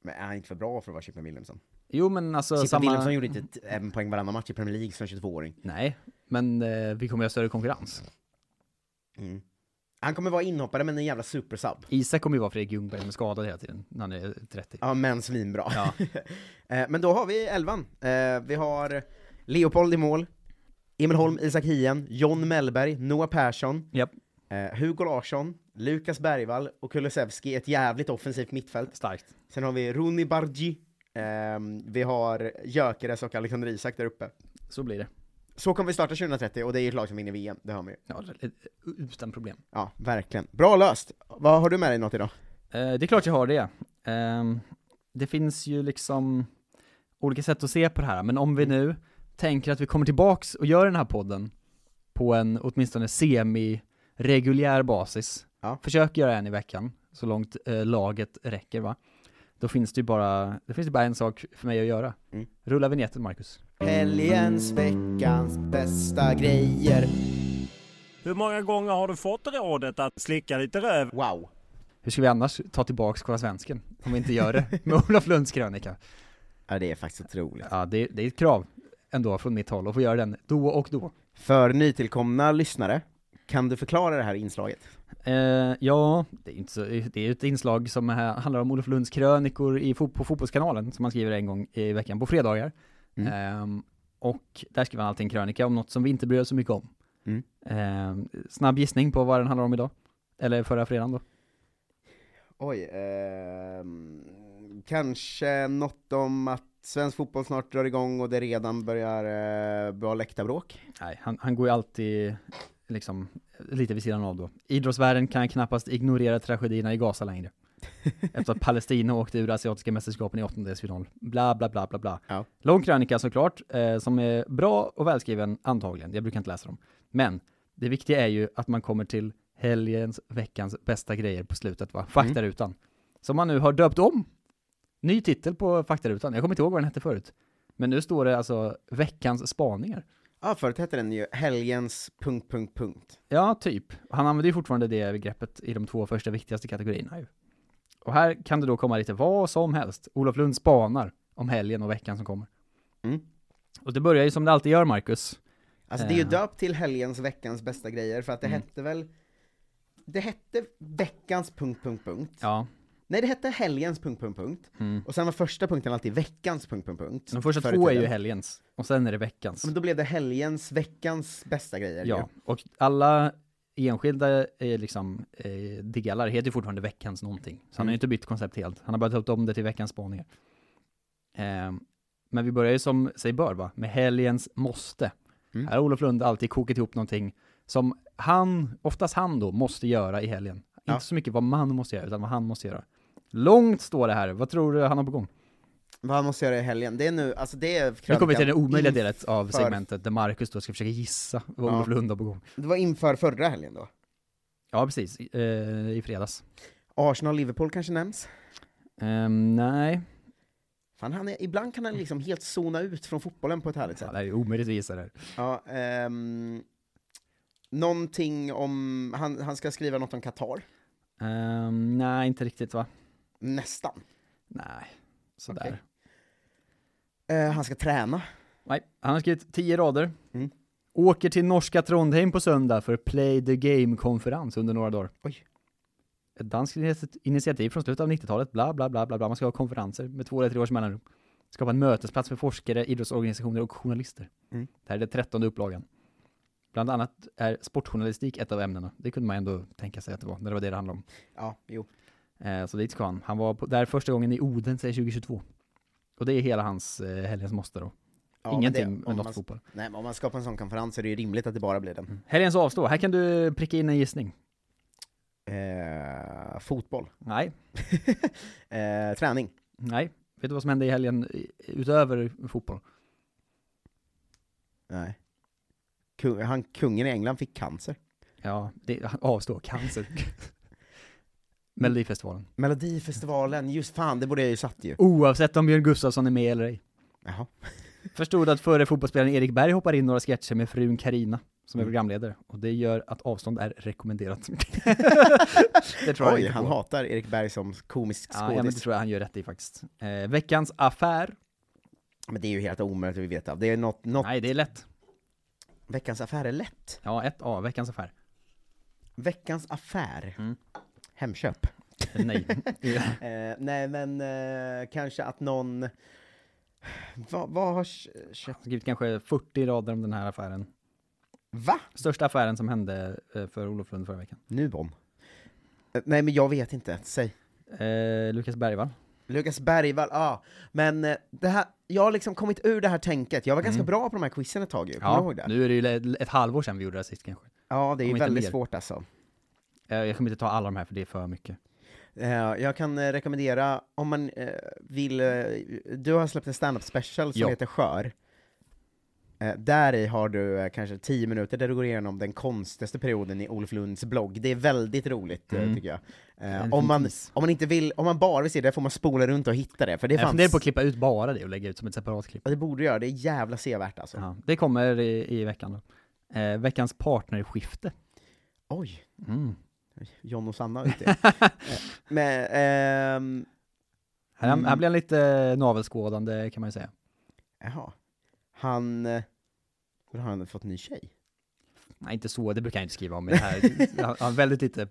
Speaker 1: Men är han inte för bra för att vara Chippen Wilhelmsson?
Speaker 4: Jo men alltså
Speaker 1: Chippen
Speaker 4: samma...
Speaker 1: Wilhelmsson gjorde inte ett- en poäng varannan match i Premier League som 22-åring.
Speaker 4: Nej, men eh, vi kommer ju ha större konkurrens.
Speaker 1: Mm. Han kommer vara inhoppare men en jävla supersub.
Speaker 4: Isak kommer ju vara Fredrik Ljungberg som är skadad hela tiden, när han är 30.
Speaker 1: Ja men svinbra. [laughs] Eh, men då har vi elvan. Eh, Vi har Leopold i mål, Emil Holm, Isak Hien, John Mellberg, Noah Persson,
Speaker 4: Japp,
Speaker 1: eh, Hugo Larsson, Lukas Bergvall och Kulusevski, ett jävligt offensivt mittfält.
Speaker 4: starkt.
Speaker 1: Sen har vi Rooney Bargi, ehm, vi har Gyökeres och Alexander Isak där uppe.
Speaker 4: Så blir det.
Speaker 1: Så kommer vi starta 2030 och det är ju ett lag som vinner VM, det hör man ju.
Speaker 4: Ja, eh, utan problem.
Speaker 1: Ja, verkligen. Bra löst! Vad har du med dig något idag?
Speaker 4: Eh, det är klart jag har det. Ehm, det finns ju liksom olika sätt att se på det här, men om
Speaker 1: Mm.
Speaker 4: vi nu tänker att vi kommer tillbaks och gör den här podden på en åtminstone semi-reguljär basis,
Speaker 1: Ja.
Speaker 4: försök göra en i veckan, så långt eh, laget räcker va, då finns det ju bara, det finns det bara en sak för mig att göra.
Speaker 1: Mm.
Speaker 4: Rulla vignetten Marcus.
Speaker 1: Helgens, veckans bästa grejer.
Speaker 5: Hur många gånger har du fått rådet att slicka lite röv?
Speaker 1: Wow.
Speaker 4: Hur ska vi annars ta tillbaks Kolla Svensken, om vi inte gör
Speaker 1: [laughs]
Speaker 4: det, med Olof Lunds krönika?
Speaker 1: Ja, det är faktiskt otroligt.
Speaker 4: Ja, det, det är ett krav ändå från mitt håll att få göra den då och då.
Speaker 1: För nytillkomna lyssnare, kan du förklara det här inslaget?
Speaker 4: Eh, ja, det är, inte så, det är ett inslag som eh, handlar om Olof Lunds krönikor i, fot- på Fotbollskanalen, som han skriver en gång i veckan på fredagar.
Speaker 1: Mm.
Speaker 4: Ehm, och där skriver han alltid en krönika om något som vi inte bryr oss så mycket om.
Speaker 1: Mm.
Speaker 4: Ehm, snabb gissning på vad den handlar om idag. Eller förra fredagen då.
Speaker 1: Oj, ehm, kanske något om att svensk fotboll snart drar igång och det redan börjar eh, vara läktarbråk?
Speaker 4: Nej, han, han går ju alltid liksom lite vid sidan av då. Idrottsvärlden kan knappast ignorera tragedierna i Gaza längre. Efter att Palestina åkte ur asiatiska mästerskapen i åttondelsfinal. Bla, bla, bla, bla, bla.
Speaker 1: Ja.
Speaker 4: Lång krönika såklart, eh, som är bra och välskriven antagligen. Jag brukar inte läsa dem. Men det viktiga är ju att man kommer till helgens, veckans bästa grejer på slutet va? Faktarutan. Som man nu har döpt om. Ny titel på faktarutan. Jag kommer inte ihåg vad den hette förut. Men nu står det alltså veckans spaningar.
Speaker 1: Ja, förut hette den ju helgens... Punkt, punkt, punkt.
Speaker 4: Ja, typ. Han använder ju fortfarande det begreppet i de två första viktigaste kategorierna ju. Och här kan det då komma lite vad som helst. Olof Lund spanar om helgen och veckan som kommer.
Speaker 1: Mm.
Speaker 4: Och det börjar ju som det alltid gör, Marcus.
Speaker 1: Alltså det är ju
Speaker 4: Eh. Mm.
Speaker 1: döpt till helgens, veckans bästa grejer för att det hette väl... Det hette veckans... Punkt, punkt, punkt.
Speaker 4: Ja.
Speaker 1: Nej, det hette helgens... Punkt, punkt, punkt. Och sen var första punkten alltid veckans... Punkt, punkt, punkt.
Speaker 4: Mm. De första
Speaker 1: Förr i
Speaker 4: två är ju
Speaker 1: tiden.
Speaker 4: helgens och sen är det veckans.
Speaker 1: Men då blev det helgens, veckans bästa grejer. ju.
Speaker 4: Ja, och alla enskilda eh, liksom, eh, delar heter ju fortfarande veckans någonting. Så
Speaker 1: Mm.
Speaker 4: han har ju inte bytt koncept helt. Han har bara tagit om det till veckans spaningar. Ehm, men vi börjar ju som sig bör, va? Med helgens måste.
Speaker 1: Mm.
Speaker 4: Här har Olof Lund alltid kokat ihop någonting som han, oftast han då, måste göra i helgen.
Speaker 1: Ja.
Speaker 4: Inte så mycket vad man måste göra, utan vad han måste göra. Långt står det här. Vad tror du han har på gång?
Speaker 1: Vad han måste göra i helgen, det är nu, alltså det är
Speaker 4: Nu kommer vi till den
Speaker 1: krönikan
Speaker 4: omöjliga
Speaker 1: inf-
Speaker 4: delen av
Speaker 1: för-
Speaker 4: segmentet där Marcus då ska försöka gissa vad
Speaker 1: Ja.
Speaker 4: Olof Lund har på gång.
Speaker 1: Det var inför förra helgen då.
Speaker 4: Ja, precis. Eh, I fredags.
Speaker 1: Arsenal-Liverpool kanske nämns?
Speaker 4: Ehm, nej.
Speaker 1: Fan, han är, ibland kan han liksom helt zona ut från fotbollen på ett härligt sätt.
Speaker 4: Ja, det är ju omöjligt att gissa det här.
Speaker 1: Ja, ehm, någonting om, han, han ska skriva något om Qatar?
Speaker 4: Ehm, nej, inte riktigt va?
Speaker 1: Nästan.
Speaker 4: Nej, sådär.
Speaker 1: Okej. Eh, han ska träna.
Speaker 4: Nej, han har skrivit tio rader. Åker till norska Trondheim på söndag för Play the Game-konferens under några dagar.
Speaker 1: Oj.
Speaker 4: Ett danskt initi- initiativ från slutet av 90-talet, bla bla bla bla bla. Man ska ha konferenser med två eller tre års mellanrum. Skapa en mötesplats för forskare, idrottsorganisationer och journalister.
Speaker 1: Mm.
Speaker 4: Det här är den trettonde upplagan. Bland annat är sportjournalistik ett av ämnena. Det kunde man ändå tänka sig att det var, när det var det det handlade om.
Speaker 1: Ja, jo.
Speaker 4: Eh, så dit ska han. Han var på, där första gången i Odense 2022. Och det är hela hans eh, helgens måste då.
Speaker 1: Ja, men det-
Speaker 4: Ingenting
Speaker 1: om
Speaker 4: med något
Speaker 1: man-
Speaker 4: fotboll.
Speaker 1: Nej, men om man skapar en sån konferens så är det ju rimligt att det bara blir den.
Speaker 4: Helgens avstå, här kan du pricka in en gissning. Mm.
Speaker 1: Eh, fotboll. [laughs]
Speaker 4: Nej,
Speaker 1: Eh, träning.
Speaker 4: nej. Vet du vad som hände i helgen i- utöver fotboll?
Speaker 1: Nej. Kung, han, kungen i England fick cancer.
Speaker 4: Ja, det, avstå,
Speaker 1: [laughs]
Speaker 4: cancer. Melodifestivalen.
Speaker 1: Melodifestivalen, just fan, det borde jag ju satt ju.
Speaker 4: Oavsett om Björn Gustafsson är med eller ej.
Speaker 1: Jaha.
Speaker 4: Förstod att före fotbollsspelaren Erik Berg hoppar in några sketcher med frun Karina som är
Speaker 1: Mm.
Speaker 4: programledare. Och det gör att avstånd är
Speaker 1: [laughs]
Speaker 4: rekommenderat. det tror jag
Speaker 1: Oj,
Speaker 4: inte
Speaker 1: han
Speaker 4: på.
Speaker 1: hatar Erik Berg som komisk
Speaker 4: Ja, ja, men det
Speaker 1: skådis.
Speaker 4: tror jag han gör rätt i faktiskt. Eh, veckans affär.
Speaker 1: men det är ju helt omöjligt att vi vet av. Det är något, något
Speaker 4: Nej, det är lätt.
Speaker 1: veckans affär är lätt.
Speaker 4: Ja, ett A, veckans affär.
Speaker 1: Veckans affär.
Speaker 4: Mm.
Speaker 1: Hemköp.
Speaker 4: Eh, Nej.
Speaker 1: Eh, nej, men eh, kanske att någon... Va- Vad har kö- köpt?
Speaker 4: Jag har skrivit kanske 40 rader om den här affären.
Speaker 1: Va?
Speaker 4: Största affären som hände eh, för Olof Lund förra veckan.
Speaker 1: Nuon? Eh, nej, men jag vet inte. Säg.
Speaker 4: Eh, Lukas Bergvall.
Speaker 1: Lukas Bergvall, ja. Ah. Men eh, det här, jag har liksom kommit ur det här tänket. Jag var ganska bra på de här quizen ett tag ju, kommer du ihåg det?
Speaker 4: Mm. nu är det ju le- ett halvår sedan vi gjorde det här sist kanske.
Speaker 1: Ja, det är ju
Speaker 4: om inte
Speaker 1: väldigt
Speaker 4: mer.
Speaker 1: svårt alltså.
Speaker 4: Eh, jag kommer inte ta alla de här för det är för mycket.
Speaker 1: Eh, jag kan eh, rekommendera, om man eh, vill, eh, du har släppt en stand-up special som
Speaker 4: Ja.
Speaker 1: heter Skör. Eh, där i har du eh, kanske 10 minuter där du går igenom den konstigaste perioden i Olof Lunds blogg. Det är väldigt roligt eh,
Speaker 4: Mm.
Speaker 1: tycker jag. Eh,
Speaker 4: En
Speaker 1: om,
Speaker 4: fin
Speaker 1: man,
Speaker 4: tease.
Speaker 1: om man inte vill, om man bara vill se det får man spola runt och hitta det, för det
Speaker 4: jag
Speaker 1: fanns...
Speaker 4: funderar på att klippa ut bara det och lägga ut som ett separat klipp.
Speaker 1: Ja, det borde du göra, det är jävla sevärt alltså.
Speaker 4: Ja, det kommer i, i veckan då. Eh, veckans partnerskifte.
Speaker 1: Oj!
Speaker 4: Mm.
Speaker 1: John och Sanna ute.
Speaker 4: [laughs]
Speaker 1: Eh, Men, ehm,
Speaker 4: Här,
Speaker 1: Mm.
Speaker 4: här blir han lite navelskådande kan man ju säga.
Speaker 1: jaha. Han, eh, men har han fått ny tjej?
Speaker 4: Nej, inte så, det brukar jag inte skriva om i det här. Han- Han är väldigt lite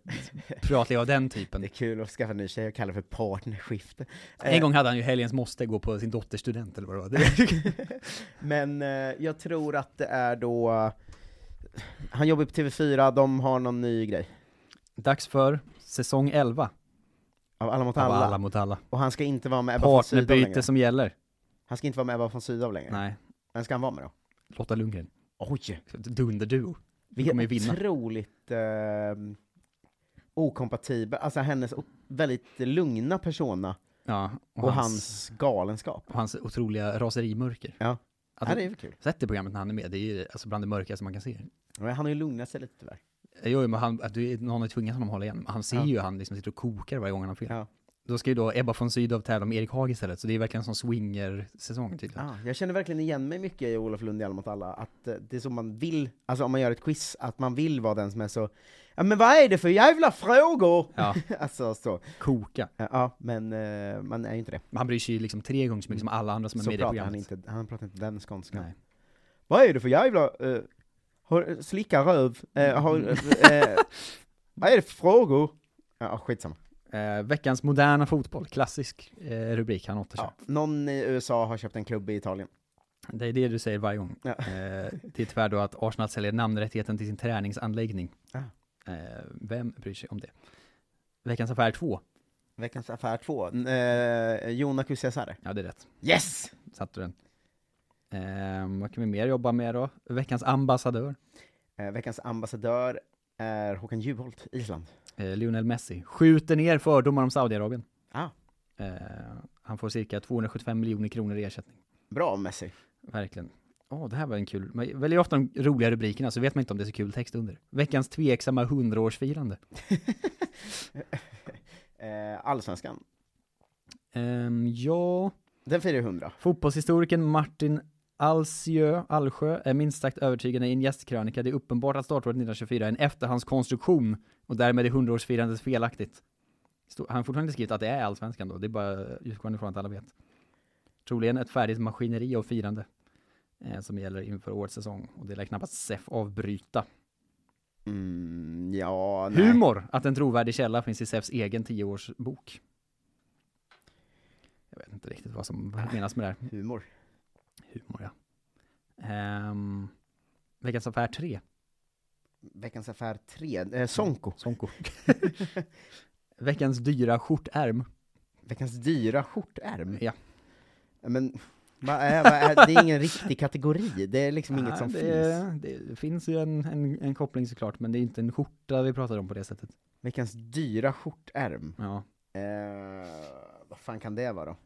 Speaker 4: pratlig av den
Speaker 1: Det är
Speaker 4: typen.
Speaker 1: kul att skaffa ny tjej och kalla det för
Speaker 4: [laughs]
Speaker 1: partnerskifte.
Speaker 4: En gång hade han ju helgens måste gå på sin dotters student eller vad det var. Det-
Speaker 1: Men eh, jag tror att det är då, han jobbar på TV4, de har någon ny grej.
Speaker 4: Dags för säsong 11
Speaker 1: Av Alla mot
Speaker 4: av
Speaker 1: alla.
Speaker 4: Alla mot alla.
Speaker 1: Och han ska inte vara med Ebba von Sydow längre.
Speaker 4: Partnerbyte som gäller.
Speaker 1: Han ska inte vara med Ebba von Sydow längre.
Speaker 4: Nej,
Speaker 1: Vem ska han vara med då?
Speaker 4: Lotta Lundgren.
Speaker 1: Oj!
Speaker 4: Dunderduo. Vi kommer ju
Speaker 1: Vilken
Speaker 4: vinna.
Speaker 1: otroligt eh, okompatibel, alltså hennes o- väldigt lugna persona
Speaker 4: Ja,
Speaker 1: och, hans galenskap.
Speaker 4: och hans otroliga raserimörker.
Speaker 1: Ja.
Speaker 4: Alltså,
Speaker 1: ja, det är väl kul.
Speaker 4: Sett det programmet när han är med, det är ju alltså bland det mörkaste man kan se.
Speaker 1: Men han har ju lugnat sig lite tyvärr.
Speaker 4: Eh, Jo, jo, men han, att du, någon har tvingat honom att hålla igen. Men Han ser
Speaker 1: Ja.
Speaker 4: ju hur han liksom sitter och kokar varje gång han har fel.
Speaker 1: Ja.
Speaker 4: Då ska ju då Ebba von Sydow tävla med Erik Haag istället, så det är verkligen en sån swinger-säsong typ. tydligen.
Speaker 1: Ah, jag känner verkligen igen mig mycket i Olof Lund i Alla mot alla, att eh, det är som man vill, alltså om man gör ett quiz, att man vill vara den som är så Ja men vad är det för jävla frågor?
Speaker 4: Ja,
Speaker 1: [laughs] alltså så.
Speaker 4: koka.
Speaker 1: Eh, Ja, men eh, man är ju inte det.
Speaker 4: Men han bryr sig ju liksom tre gånger så mycket som alla andra som
Speaker 1: Mm.
Speaker 4: är
Speaker 1: Så
Speaker 4: med i det
Speaker 1: pratar
Speaker 4: programmet.
Speaker 1: han inte, han pratar inte den skånskan.
Speaker 4: Nej.
Speaker 1: Vad är det för jävla, eh, har, slicka röv, eh, har,
Speaker 4: [laughs]
Speaker 1: eh, vad är det för frågor? Ja, skitsamma.
Speaker 4: Eh, veckans moderna fotboll, klassisk eh, rubrik han återkör.
Speaker 1: Ja. Någon i USA har köpt en klubb i Italien.
Speaker 4: Det är det du säger varje gång.
Speaker 1: Ja.
Speaker 4: Eh, det är tyvärr då att Arsenal säljer namnrättigheten till sin träningsanläggning.
Speaker 1: Ja.
Speaker 4: Eh, vem bryr sig om det? Veckans affär 2.
Speaker 1: Veckans affär 2, eh, Jonas Cesare.
Speaker 4: Ja, det är rätt.
Speaker 1: Yes!
Speaker 4: Satte du den. Eh, vad kan vi mer jobba med då? Veckans ambassadör.
Speaker 1: Eh, veckans ambassadör är Håkan Juholt, Island.
Speaker 4: Eh, Lionel Messi. Skjuter ner fördomar om Saudiarabien. Ehm,
Speaker 1: Ah.
Speaker 4: Eh, han får cirka 275 miljoner kronor i ersättning.
Speaker 1: Bra Messi.
Speaker 4: Verkligen. Åh, det här var en kul. Man väljer ofta de roliga rubrikerna så vet man inte om det är så kul text under. Veckans tveksamma hundraårsfirande.
Speaker 1: Eh, Allsvenskan.
Speaker 4: Ehm, ja,
Speaker 1: Den firar ju 100.
Speaker 4: fotbollshistorikern Martin Alsjö, Allsjö är minst sagt övertygande i en gästkrönika. Det är uppenbart att startåret 1924 är en efterhandskonstruktion och därmed är hundraårsfirandet felaktigt. Sto- Han har fortfarande inte skrivit att det är allsvenskan då, det är bara utgående från att alla vet. Troligen ett färdigt maskineri av firande eh, som gäller inför årets säsong och det lär knappast SEF avbryta.
Speaker 1: Mm, ja, nej.
Speaker 4: Humor, att en trovärdig källa finns i SEFs egen tioårsbok. Jag vet inte riktigt vad som menas med det här.
Speaker 1: Humor.
Speaker 4: Humor, ja. Ehm, veckans affär 3.
Speaker 1: Veckans affär 3. Eh, Sonko. [laughs]
Speaker 4: Sonko. veckans dyra skjortärm.
Speaker 1: Veckans dyra skjortärm.
Speaker 4: Ja.
Speaker 1: Men, vad är, vad är, det är ingen riktig kategori. Det är liksom
Speaker 4: Ja,
Speaker 1: inget som
Speaker 4: det,
Speaker 1: finns.
Speaker 4: Det finns ju en, en, en koppling såklart, men det är inte en skjorta vi pratar om på det sättet.
Speaker 1: Veckans dyra skjortärm.
Speaker 4: Ja.
Speaker 1: Eh, vad fan kan det vara då?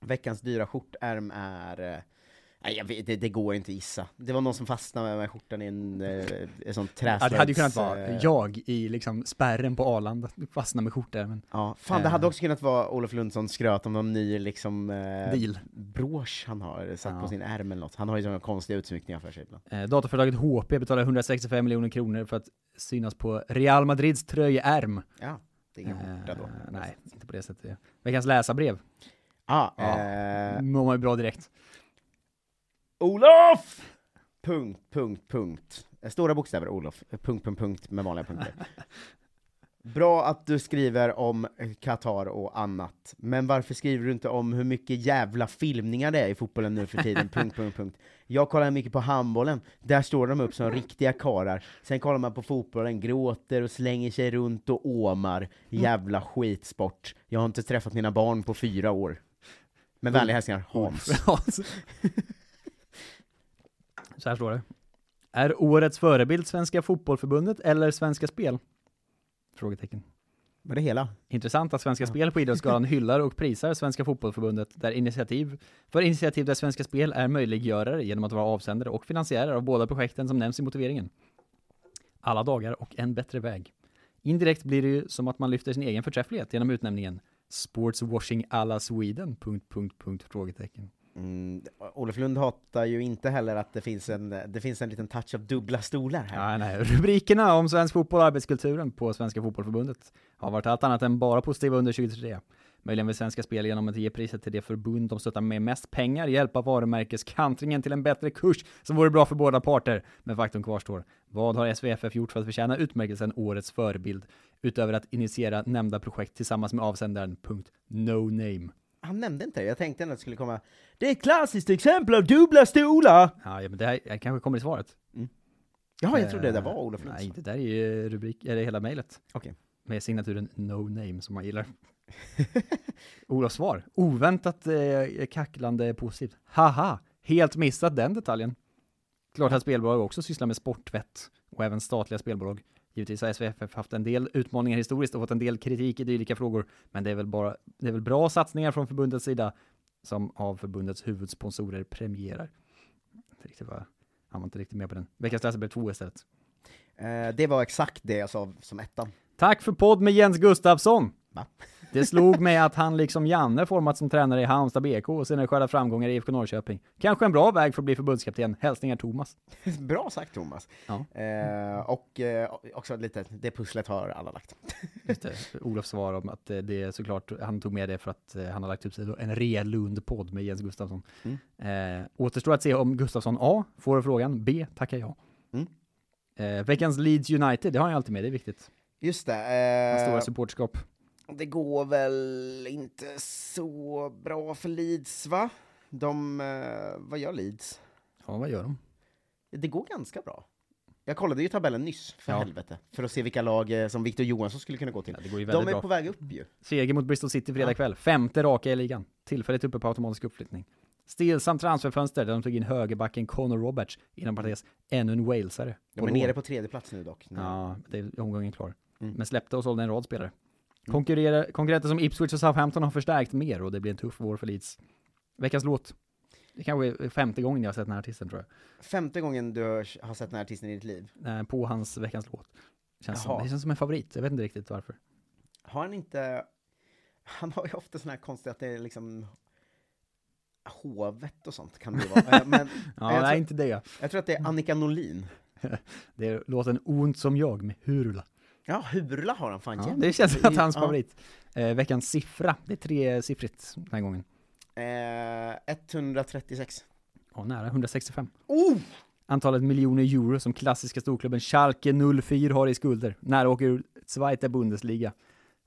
Speaker 1: Veckans dyra skjortärm är... eh, Nej, jag vet, det, det går inte att gissa. Det var någon som fastnade med skjortan i en, eh, en sån träslöjds...
Speaker 4: Ja, det hade ju kunnat vara
Speaker 1: eh,
Speaker 4: jag i liksom spärren på Arlanda, fastna med skjortärmen.
Speaker 1: Ja, fan det
Speaker 4: Eh.
Speaker 1: hade också kunnat vara Olof Lundsson skröt om någon ny liksom eh,
Speaker 4: Deal.
Speaker 1: brosch han har satt
Speaker 4: Ja.
Speaker 1: på sin ärm eller något. Han har ju sådana konstiga utsmyckningar för sig ibland.
Speaker 4: Eh, datorföretaget HP betalar 165 miljoner kronor för att synas på Real Madrids tröjärm.
Speaker 1: Ja, det är ingen skjorta då.
Speaker 4: Eh, nej, inte på det sättet. Veckans läsarbrev.
Speaker 1: Ah,
Speaker 4: Ja.
Speaker 1: Eh,
Speaker 4: Mår man ju bra direkt.
Speaker 1: Olof! Punkt, punkt, punkt. Eh, Stora bokstäver, Olof. Eh, Punkt, punkt, punkt med vanliga [laughs] punkter. Bra att du skriver om eh, Qatar och annat, men varför skriver du inte om hur mycket jävla filmningar det är i fotbollen nu för tiden? punkt, punkt, punkt. Jag kollar mycket på handbollen, där står de upp som riktiga karar. Sen kollar man på fotbollen, gråter och slänger sig runt och åmar. Jävla skitsport. Jag har inte träffat mina barn på fyra år. Med vänliga hälsningar, Hans.
Speaker 4: Så här står det. Är årets förebild Svenska Fotbollförbundet eller Svenska Spel? Frågetecken.
Speaker 1: Var det hela?
Speaker 4: Intressant att Svenska Spel på Idrottsgalan hyllar och prisar Svenska Fotbollförbundet där initiativ, för initiativ där Svenska Spel är möjliggörare genom att vara avsändare och finansiärare av båda projekten som nämns i motiveringen. Alla dagar och en bättre väg. Indirekt blir det ju som att man lyfter sin egen förträfflighet genom utnämningen Sportswashing alla Sweden? Punkt, punkt, punkt, frågetecken.
Speaker 1: Mm, Olof Lund hatar ju inte heller att det finns en, det finns en liten touch av dubbla stolar här.
Speaker 4: Nej, nej. Rubrikerna om svensk fotboll och arbetskulturen på Svenska Fotbollförbundet har varit allt annat än bara positiva under 2023. Möjligen vill Svenska Spel genom att ge priset till det förbund de stöttar med mest pengar hjälpa varumärkeskantringen till en bättre kurs som vore bra för båda parter. Men faktum kvarstår. Vad har SVFF gjort för att förtjäna utmärkelsen Årets förebild? Utöver att initiera nämnda projekt tillsammans med avsändaren. Punkt. No name.
Speaker 1: Han nämnde inte det, jag tänkte ändå att det skulle komma Det är ett klassiskt exempel av dubbla stolar!
Speaker 4: Ja, ja, men det här det här kanske kommer i svaret.
Speaker 1: Ja, jag trodde det där var
Speaker 4: Eh,
Speaker 1: Olof Lund.
Speaker 4: Nej, det där är ju rubrik, eller hela mejlet.
Speaker 1: Okej.
Speaker 4: Med signaturen No Name som man gillar. Olofs svar. Oväntat eh, kacklande positivt. Haha! Helt missat den detaljen. Klart att spelbolag också sysslar med sporttvätt och även statliga spelbolag. Givetvis har SVFF haft en del utmaningar historiskt och fått en del kritik i dylika frågor, men det är väl, bara, det är väl bra satsningar från förbundets sida som av förbundets huvudsponsorer premierar. Inte riktigt vad, han var inte riktigt med på den. Veckans läsare blev två istället.
Speaker 1: Eh, det var exakt det jag sa som ettan. [laughs]
Speaker 4: Tack för podd med Jens Gustafsson!
Speaker 1: Va?
Speaker 4: [laughs] Det slog mig att han [laughs] liksom Janne formats som tränare i Halmstad BK och senare skördat framgångar i IFK Norrköping. Kanske en bra väg för att bli förbundskapten. Hälsningar Thomas.
Speaker 1: Bra sagt Thomas.
Speaker 4: Ja.
Speaker 1: Eh, och eh, också lite, det pusslet har alla lagt.
Speaker 4: Just det. Olof svar om att eh, det är såklart, han tog med det för att eh, han har lagt upp sig då, en Relund-podd med Jens Gustafsson. Eh, återstår att se om Gustafsson A får frågan, B tackar ja.
Speaker 1: Mm.
Speaker 4: Eh, veckans Leeds United, det har jag alltid med, det är viktigt.
Speaker 1: Just det.
Speaker 4: Hans
Speaker 1: eh,
Speaker 4: stora supporterskap.
Speaker 1: Det går väl inte så bra för Leeds va? De, eh, vad gör Leeds?
Speaker 4: Ja, vad gör de?
Speaker 1: Det går ganska bra. Jag kollade ju tabellen nyss, för
Speaker 4: Ja.
Speaker 1: helvete. För att se vilka lag eh, som Victor Johansson skulle kunna gå till.
Speaker 4: Ja, det går ju
Speaker 1: De är
Speaker 4: väldigt bra.
Speaker 1: på väg upp ju.
Speaker 4: Seger mot Bristol City fredag kväll. Femte raka i ligan. Tillfälligt uppe på automatisk uppflyttning. Stillsamt transferfönster där de tog in högerbacken Connor Roberts, inom parentes, ännu en walesare.
Speaker 1: De är
Speaker 4: Och då-
Speaker 1: nere på tredje plats nu dock. Nu.
Speaker 4: Ja, det är omgången klar.
Speaker 1: Mm.
Speaker 4: Men släppte och sålde en rad spelare. Konkurrera, konkurrenter som Ipswich och Southampton har förstärkt mer och det blir en tuff vår för Leeds. Veckans låt. Det kanske är femte gången jag har sett den här artisten tror jag.
Speaker 1: Femte gången du har har sett den här artisten i ditt liv.
Speaker 4: Eh, På hans Veckans låt. Känns som,
Speaker 1: Jaha.
Speaker 4: det känns som en favorit, jag vet inte riktigt varför.
Speaker 1: Har han inte... Han har ju ofta sådana här konstiga att det är liksom... Hovet och sånt kan det ju vara. Eh, Men,
Speaker 4: Ja,
Speaker 1: jag
Speaker 4: nej
Speaker 1: tror-
Speaker 4: inte det.
Speaker 1: Jag tror att det är Annika Norlin.
Speaker 4: Det är låten Ont som jag med Hurula.
Speaker 1: Ja, Hurla har han fan
Speaker 4: Ja,
Speaker 1: jämt.
Speaker 4: det känns som att hans
Speaker 1: Ja.
Speaker 4: favorit. Eh, veckans siffra, det är tresiffrigt den här gången.
Speaker 1: Eh, 136.
Speaker 4: Ja, nära 165.
Speaker 1: Oh!
Speaker 4: Antalet miljoner euro som klassiska storklubben Schalke 04 har i skulder när de åker ur Zweite Bundesliga.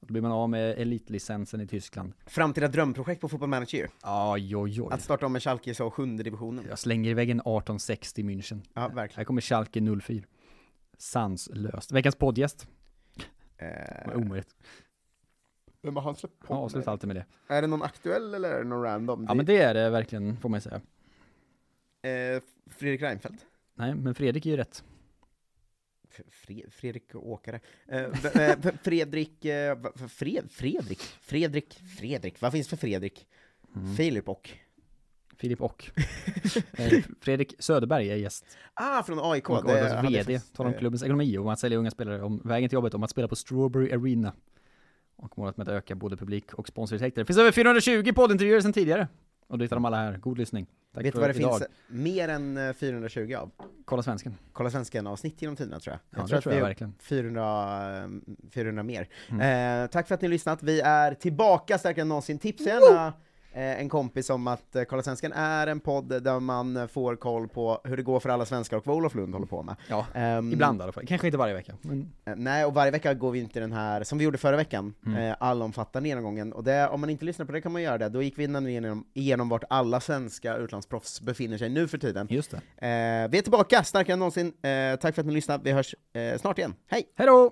Speaker 4: Då blir man av med elitlicensen i Tyskland.
Speaker 1: Framtida drömprojekt på Football Manager. ju.
Speaker 4: Aj, oj, oj.
Speaker 1: Att starta om med Schalke i så sjunde divisionen.
Speaker 4: Jag slänger i väggen 1860 München.
Speaker 1: Ja, verkligen.
Speaker 4: Här kommer Schalke 04. Sanslöst. Veckans poddgäst.
Speaker 1: Eh,
Speaker 4: Omöjligt.
Speaker 1: Vem har han släppt
Speaker 4: Jag avslutar alltid med det.
Speaker 1: Är det någon aktuell eller är det någon random?
Speaker 4: Ja, men det är det verkligen, får man ju säga.
Speaker 1: eh, Fredrik Reinfeldt?
Speaker 4: Nej, men Fredrik är ju rätt.
Speaker 1: F- Fre- Fredrik Åkare?
Speaker 4: [laughs]
Speaker 1: Eh, v- eh, v- Fredrik... Eh, va- va- Fred, Fredrik? Fredrik? Fredrik? Vad finns för Fredrik?
Speaker 4: Mm.
Speaker 1: Filip och?
Speaker 4: Filip [laughs] och. Eh, Fredrik Söderberg är gäst.
Speaker 1: Ah, från AIK!
Speaker 4: Och
Speaker 1: det
Speaker 4: Adams
Speaker 1: hade jag
Speaker 4: VD
Speaker 1: faktiskt,
Speaker 4: talar om
Speaker 1: eh,
Speaker 4: klubbens ekonomi och om att sälja unga spelare, om vägen till jobbet, om att spela på Strawberry Arena. Och målet med att öka både publik och sponsorintäkter. Det finns över 420 poddintervjuer sedan tidigare. Och du hittar dem alla här. God lyssning. Tack
Speaker 1: Vet du
Speaker 4: för
Speaker 1: vad det
Speaker 4: idag.
Speaker 1: finns mer än eh, 420 av?
Speaker 4: Kolla svensken.
Speaker 1: Kolla Svensken-avsnitt genom tiderna tror jag.
Speaker 4: Ja, det tror jag
Speaker 1: vi är
Speaker 4: verkligen. Mm.
Speaker 1: 400, eh, 400 mer. Eh, tack för att ni har lyssnat. Vi är tillbaka starkare än någonsin. Tipsa gärna eh, en kompis om att eh, Kolla Svensken är en podd där man eh, får koll på hur det går för alla svenskar och vad Olof Lund håller på med.
Speaker 4: Ja,
Speaker 1: Ehm,
Speaker 4: ibland i alla fall. Kanske inte varje vecka. Men
Speaker 1: eh, Nej, och varje vecka går vi inte den här, som vi gjorde förra veckan,
Speaker 4: Mm.
Speaker 1: eh, allomfattande genomgången. Och det, om man inte lyssnar på det kan man göra det. Då gick vi innan igenom, igenom vart alla svenska utlandsproffs befinner sig nu för tiden.
Speaker 4: just det.
Speaker 1: Eh, vi är tillbaka, starkare än någonsin. Eh, tack för att ni lyssnade, vi hörs eh, snart igen. Hej!
Speaker 4: Hej då!